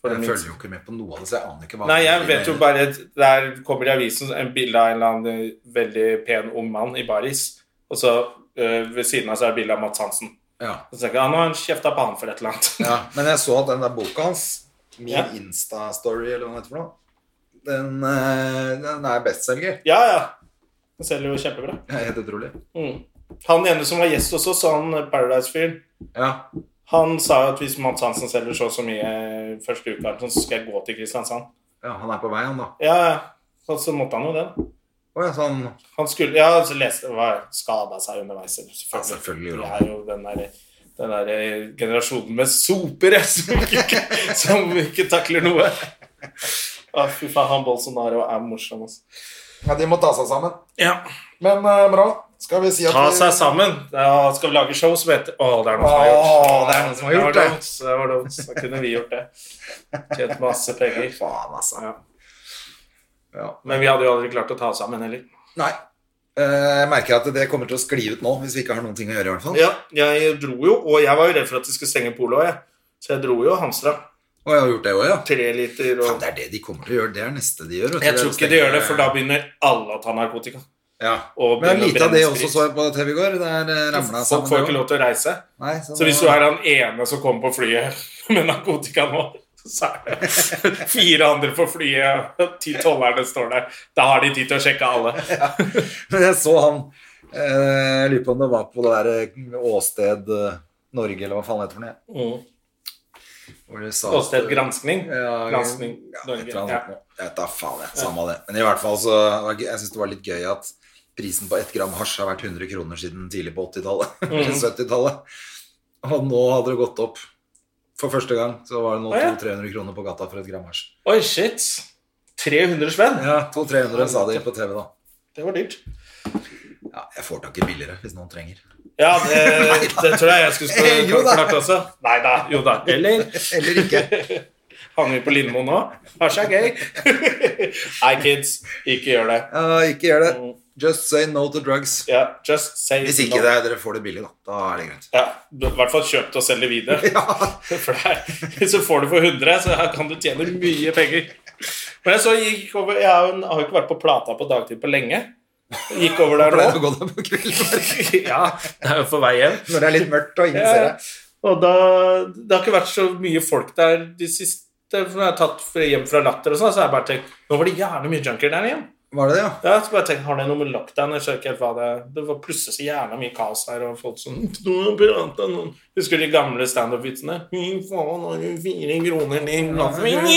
For det
Jeg
minste.
følger jo ikke med på noe av det, så jeg aner ikke hva
Nei, jeg vet jo bare Der kommer i avisen en bilde av en eller annen eh, veldig pen ung mann i baris, og så øh, ved siden av så er det bilde av Mats Hansen.
ja.
Og så tenker jeg, «Ah, nå har han kjefta på han for et eller annet. [laughs]
ja, Men jeg så at den der boka hans, Min
Ja.
Insta-story, eller hva den heter for noe, den, eh, den er bestselger.
Ja, ja. Han selger jo kjempebra.
Det er Helt utrolig.
Mm. Han ene som var gjest hos oss, han Paradise-fyren,
Ja.
han sa jo at hvis Mats Hansen selger så og så mye eh, første uka, så skal jeg gå til Kristiansand.
ja, han er på vei, han, da.
Ja, ja. Og så måtte han jo det. da.
Å ja, sånn
Han skulle Ja, så leste jeg Skada seg underveis. Selvfølgelig.
Ja, selvfølgelig gjorde
det
han
er jo den derre den der eh, generasjonen med sopere [laughs] som ikke, som ikke takler noe. Å, fy faen, han Bolsonaro er morsom, altså.
Ja, de må ta seg sammen.
Ja.
Men eh, bra. Skal vi si at
Ta
vi-
seg sammen. Ja, skal vi lage show som heter Å, det er noen som har gjort
Å, det er noen som har gjort
det. var
det.
dumt, Det var dumt. Da kunne vi gjort det. Tjent masse penger.
Faen, altså.
Ja.
Ja.
Men vi hadde jo aldri klart å ta oss sammen heller.
Nei. Eh, Jeg merker at det kommer til å skli ut nå, hvis vi ikke har noen ting å gjøre. i hvert fall
Ja, jeg dro jo, og jeg var jo redd for at de skulle stenge poloet, jeg. Så jeg dro jo og hamstra.
Og jeg har gjort det også, ja.
Tre liter
Faen,
og
det er det de kommer til å gjøre. Det er neste de gjør. vet du.
Jeg tror ikke de gjør det, for da begynner alle å ta narkotika.
ja.
og
Men
begynner å
lite av det
brenne
også
sprit.
så jeg på TV i går. Der eh, ramla
Folk får ikke lov til å reise.
Nei,
Så hvis du er han ene som kommer på flyet [laughs] med narkotika nå, så er det [laughs] fire andre på flyet, og ti tollerne står der. Da har de tid til å sjekke alle.
Men [laughs] jeg så han eh, Jeg lurer på om det var på det der eh, Åsted eh, Norge, eller hva faen det heter for noe.
Mm.
hvor de sa at-
Åsted granskning.
Ja,
Granskning
ja, et
Norge.
eller annet
Ja.
sånt noe. Jeg vet da faen, jeg. Samme det. Men i hvert fall så Jeg syns det var litt gøy at prisen på ett gram hasj har vært 100 kroner siden tidlig på [laughs] 80-tallet.
Mm.
Eller 70-tallet. Og nå hadde det gått opp. For første gang så var det nå
Å, ja.
200-300 kroner på gata for et gram hasj.
Oi, shit. 300 spenn.
Ja, 200-300 sa de på TV, da.
Det var dyrt.
Ja, jeg får tak i billigere hvis noen trenger.
Ja, det, det tror jeg jeg skulle
Eh, [laughs] jo
stå
da.
klart også. Nei da. Jo da. Eller [laughs]
Eller ikke.
Havner vi på Lindmo nå? Har seg gøy. [laughs] Nei, kids, ikke gjør det.
Ja, ikke gjør det. Just say no to drugs.
Mm. Ja, just say
Hvis ikke det, er- dere får det billig, da. Da er det greit. [laughs]
Ja, I hvert fall kjøp det og selg det videre. [laughs] For det er, hvis du får det for 100, så her kan du tjene mye penger. Men jeg så gikk over Jeg har jo- har jo ikke vært på Plata på dagtid på lenge. Gikk over der
For det
nå.
er på godt på kvelden,
[laughs] Ja, det er jo på vei hjem.
Når det er litt mørkt og ingen ser
Ja,
deg.
og da, det har ikke vært så mye folk der de siste Når jeg har tatt fra- hjem fra Latter, og sånn, så har jeg bare tenkt Nå var det jævlig mye junker der igjen.
Var det det, ja?
Ja, så bare tenkt, Har det noe med lockdown Jeg skjønner ikke helt hva Det er. Det var plutselig så jævla mye kaos der, og folk som «Nå prater noen». Husker du de gamle standup-vitsene? Fy faen, har du fire kroner din loffing?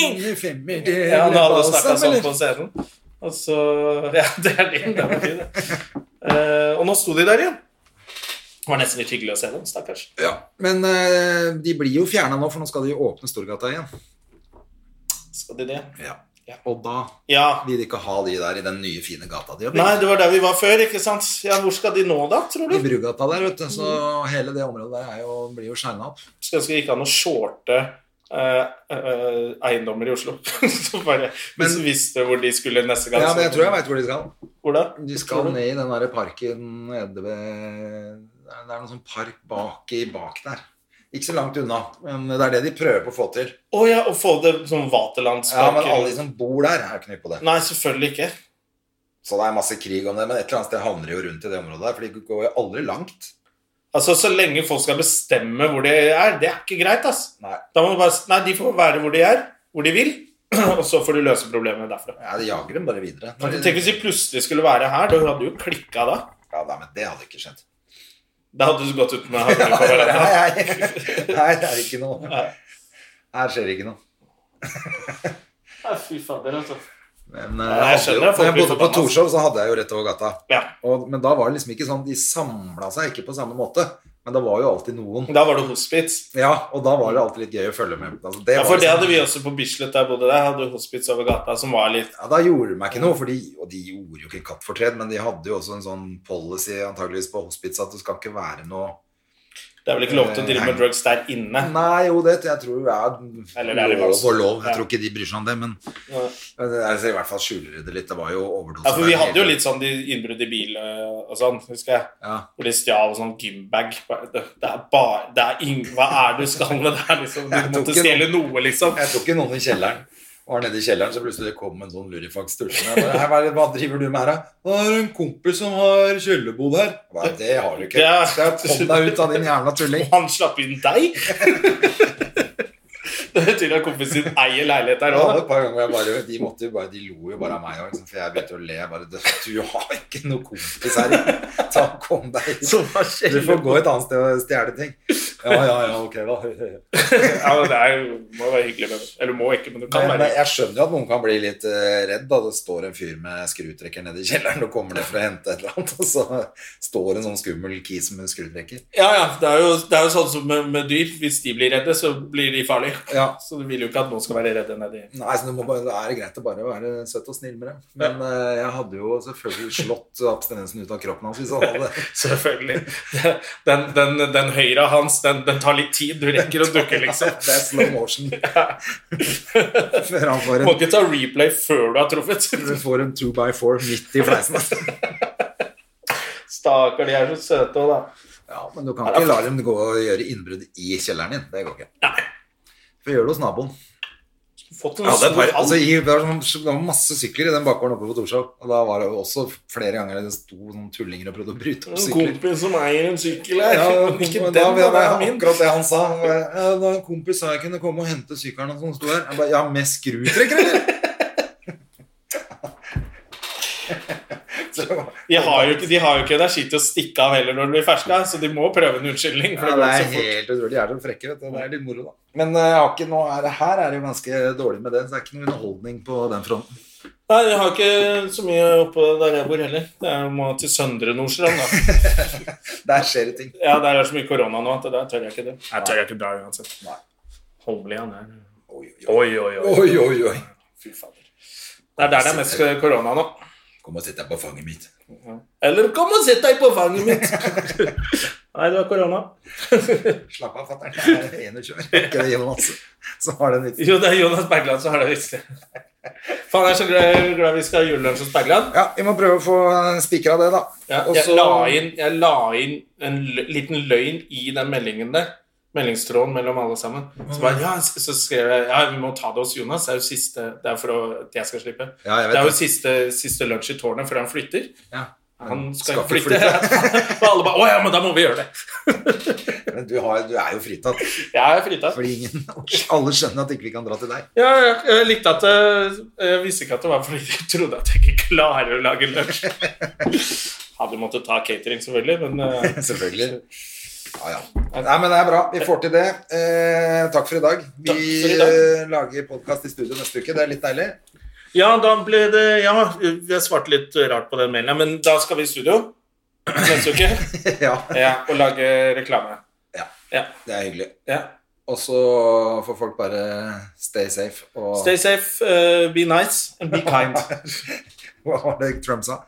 Ja, nå hadde du snakka sånn på scenen. Og så Ja, det er din. Det var fin, det. Eh, og nå sto de der igjen. Det var nesten litt hyggelig å se dem, stakkars.
Ja. Men eh, de blir jo fjerna nå, for nå skal de jo åpne Storgata igjen.
Skal de det? Ja.
Og da
Ja.
vil de ikke ha de der i den nye, fine gata de har
Nei,
bygd.
det var der vi var før, ikke sant? Ja, hvor skal de nå da, tror
I
du?
Brugata der, vet du. Så hele det området der er jo, blir jo shina opp.
Så ganske gikk an å shorte eh, eh, eiendommer i Oslo. [laughs] så bare, hvis
Men-
du visste hvor de skulle neste gang.
Ja,
så-
men jeg tror jeg veit hvor de skal.
Hvor da?
De
Tror
skal
du?
ned i den der parken nede ved Det er noen sånn park bak i bak der. Ikke så langt unna, men det er det de prøver på å få til.
Å ja, og få det som Vaterlandsparken.
Ja, Men alle de som bor der, er jo ikke nøye på det.
Nei, selvfølgelig ikke.
Så det er masse krig om det, men et eller annet sted havner de jo rundt i det området der, for de går jo aldri langt.
Altså, Så lenge folk skal bestemme hvor de er, det er ikke greit. ass.
Nei.
Da må du bare, s- nei, De får være hvor de er, hvor de vil, [clears throat] og så får du løse problemet derfra.
Ja, de jager dem bare videre.
Men Tenk hvis de plutselig skulle være her. Da hadde du jo klikka da.
Ja, nei, men det hadde ikke
[laughs]
skjedd.
Da hadde du gått ut med hagla på
[laughs] Nei, nei,
hverandre.
nei, det er ikke noe.
Nei.
Her skjer ikke noe.
Nei, fy fader, altså.
Men
jeg
eh, jeg hadde
skjønner,
jo,
folk
når jeg
blir
bodde på
forbanna.
Torshov, så hadde jeg jo rett over gata.
Ja.
Og, men da var det liksom ikke sånn De samla seg ikke på samme måte, men det var jo alltid noen.
Da var det hospits.
Ja, og da var det alltid litt gøy å følge med. Altså, det
Ja,
var
for det
liksom-
hadde vi også på Bislett der jeg bodde der. Hadde hospits over gata som var litt
ja, Da gjorde det meg ikke noe, for de, og de gjorde jo ikke kattfortred, men de hadde jo også en sånn policy antageligvis på hospits at det skal ikke være noe
Det er vel ikke lov til å
Eh,
drive med drugs der inne.
Nei, jo, det jeg tror er
Eller det er det
lov
maks.
og lov. Jeg
Ja.
tror ikke de bryr seg om det, men
Nei.
altså, i hvert fall skjuler de det litt. Det var jo overdose.
Ja, for vi
der
hadde jo
hele-
litt sånn de innbrudd i bil øh, og sånn, husker jeg.
ja.
Hvor de stjal sånn gymbag. Bare, Det det er bare det er ing, Hva er det du skal med det her, liksom?
Jeg
Du
tok
måtte
ikke
stjele noe, liksom.
Jeg tok ikke noen i kjelleren. Var nede i kjelleren, så plutselig kom en sånn lurifax tullende. Jeg bare, «Hei, Hva, er det- hva driver du med her, da? Det er en kompis som har kjellerbod her. Jeg Bare, det har du ikke.
Ja.
Så jeg kom deg ut av din jævla tulling.
Han slapp inn deg! [laughs] Det betyr at kompisen din eier leilighet der
Jeg hadde et
òg.
par ganger hvor jeg bare, de, måtte jo bare, de lo jo bare av meg også, liksom, for jeg begynte å le. Jeg Bare, du har ikke noen kompis her. Ta, kom deg ut. Du får gå et annet sted og stjele ting. Ja, ja, ja, ok da.
Ja, men det er, jo- må være hyggelig med det. Eller må ikke, men det kan
Men,
være.
men jeg skjønner jo at noen kan bli litt eh, redd da det står en fyr med skrutrekker nede i kjelleren og kommer ned for å hente et eller annet, og så står en sånn skummel kis med skrutrekker.
Ja, ja. Det er jo, det er jo sånn som med, med dyr. Hvis de blir redde, så blir de farlige.
Ja.
Så du vil jo ikke at noen skal være redde nedi
Nei, så det, må bare, det er greit å bare være søt og snill med dem. Men eh, jeg hadde jo selvfølgelig slått abstinensen ut av kroppen hans hvis han hadde
Selvfølgelig. [laughs] Den, den, den høyre hans, den, den tar litt tid. Du [laughs] rekker å dukke, liksom.
Det er slow motion. Før han får
Må
en,
ikke ta replay før [laughs] du har truffet.
får en two by four midt i fleisen. altså.
Stakkar, de er så søte òg, da.
Ja, men du kan ikke la dem gå og gjøre innbrudd i kjelleren din. Det går ikke. Får gjøre det hos naboen.
Fått en
Ja, det,
stor
var,
hall.
altså, i, det, var sånn, det var masse sykler i den bakgården oppe på Torshov. Og da var det jo også flere ganger det sto sånn tullinger og prøvde å bryte opp
En
sykler.
kompis som eier en sykkel her.
Ja,
[laughs] Men ikke den,
men da
da,
var det
det er min.
akkurat det han sa. Han bare, «Ja, Det var en kompis sa jeg kunne komme og hente sykkelen som sto her. Jeg bare, ja, med skrutrekker, eller? Så det var-
De har, jo ikke, de har jo ikke energi til å stikke av heller når de blir ferska, så de må prøve en unnskyldning. For
Ja,
det går
det er
ikke så fort.
helt utrolig. De er så frekke, vet du. Det er litt moro, da. Men eh, jeg har ikke noe, her, her er det jo ganske dårlig med det, så det er ikke noe underholdning på den fronten.
Nei, jeg har ikke så mye oppå der jeg bor heller. Det er jo må til Søndre Nordstrand, da.
Der skjer det ting.
Ja, der er det så mye korona nå at der tør jeg ikke det. Jeg tør jeg ikke dra uansett.
Nei.
Holmlian er
Oi, oi,
Oi, oi, oi.
oi. oi, oi.
Fy fader. Det er der det er mest korona nå.
Kom og sitt deg på fanget mitt.
Eller kom og sett deg på fanget mitt! [laughs] Nei, det var korona.
Slapp av, fatter'n. Det er [laughs] 21. Ikke det, Jonas? Så har det en vits.
Jo, det er Jonas Bergland som har det viktigste. Faen, jeg er så glad, glad vi skal ha julelunsj hos Bergland.
Ja, vi må prøve å få spikra det, da.
Ja,
Og
jeg,
så-
la inn, jeg la inn en lø liten løgn i den meldingen der. Meldingstråden mellom alle sammen. Så, bare, ja, s- så skrev jeg ja, vi må ta det hos Jonas. Det er jo siste, det er for å, at jeg skal slippe.
Ja, jeg vet
det er jo
det.
siste, siste lunsj i tårnet før han flytter.
Ja.
Han Mm. skal,
skal
ikke
ikke
flytte. [laughs] Og alle bare Å ja, men da må vi gjøre det.
Men du, har, du er jo fritatt.
Jeg er fritatt.
Fordi ingen, alle skjønner at ikke vi kan dra til deg.
Ja, jeg, jeg likte at eh, Jeg visste ikke at det var fordi de trodde at jeg ikke klarer å lage [laughs] lunsj. Hadde måttet ta catering, selvfølgelig, men eh,
Selvfølgelig. Ja, ja. Nei, men det er bra. Vi får til det. Eh, takk for i dag. Vi
Takk for i dag.
eh, lager podkast i studio neste uke. Det er litt deilig. [laughs]
Ja, da ble det Ja, jeg svarte litt rart på den mailen, men da skal vi i studio neste uke [laughs]
ja,
ja, og lage reklame.
Ja.
ja.
det er hyggelig.
ja.
Og så får folk bare stay safe og
Stay safe, eh, be nice, and be [laughs] kind.
[laughs] Hva var det Trump sa?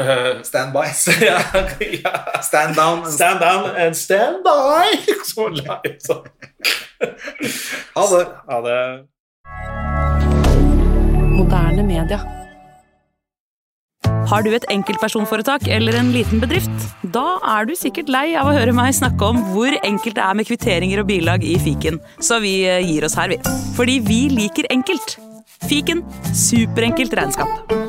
Eh, [laughs]
Stand by.
ja, ja.
Stand down.
Stand down and stand by! [laughs] Så live, sånn.
Ha det.
Ha det.
Moderne media. Har du et enkeltpersonforetak eller en liten bedrift? Da er du sikkert lei av å høre meg snakke om hvor enkelt det er med kvitteringer og bilag i fiken, så vi eh, gir oss her, vi. Fordi vi liker enkelt. Fiken superenkelt regnskap.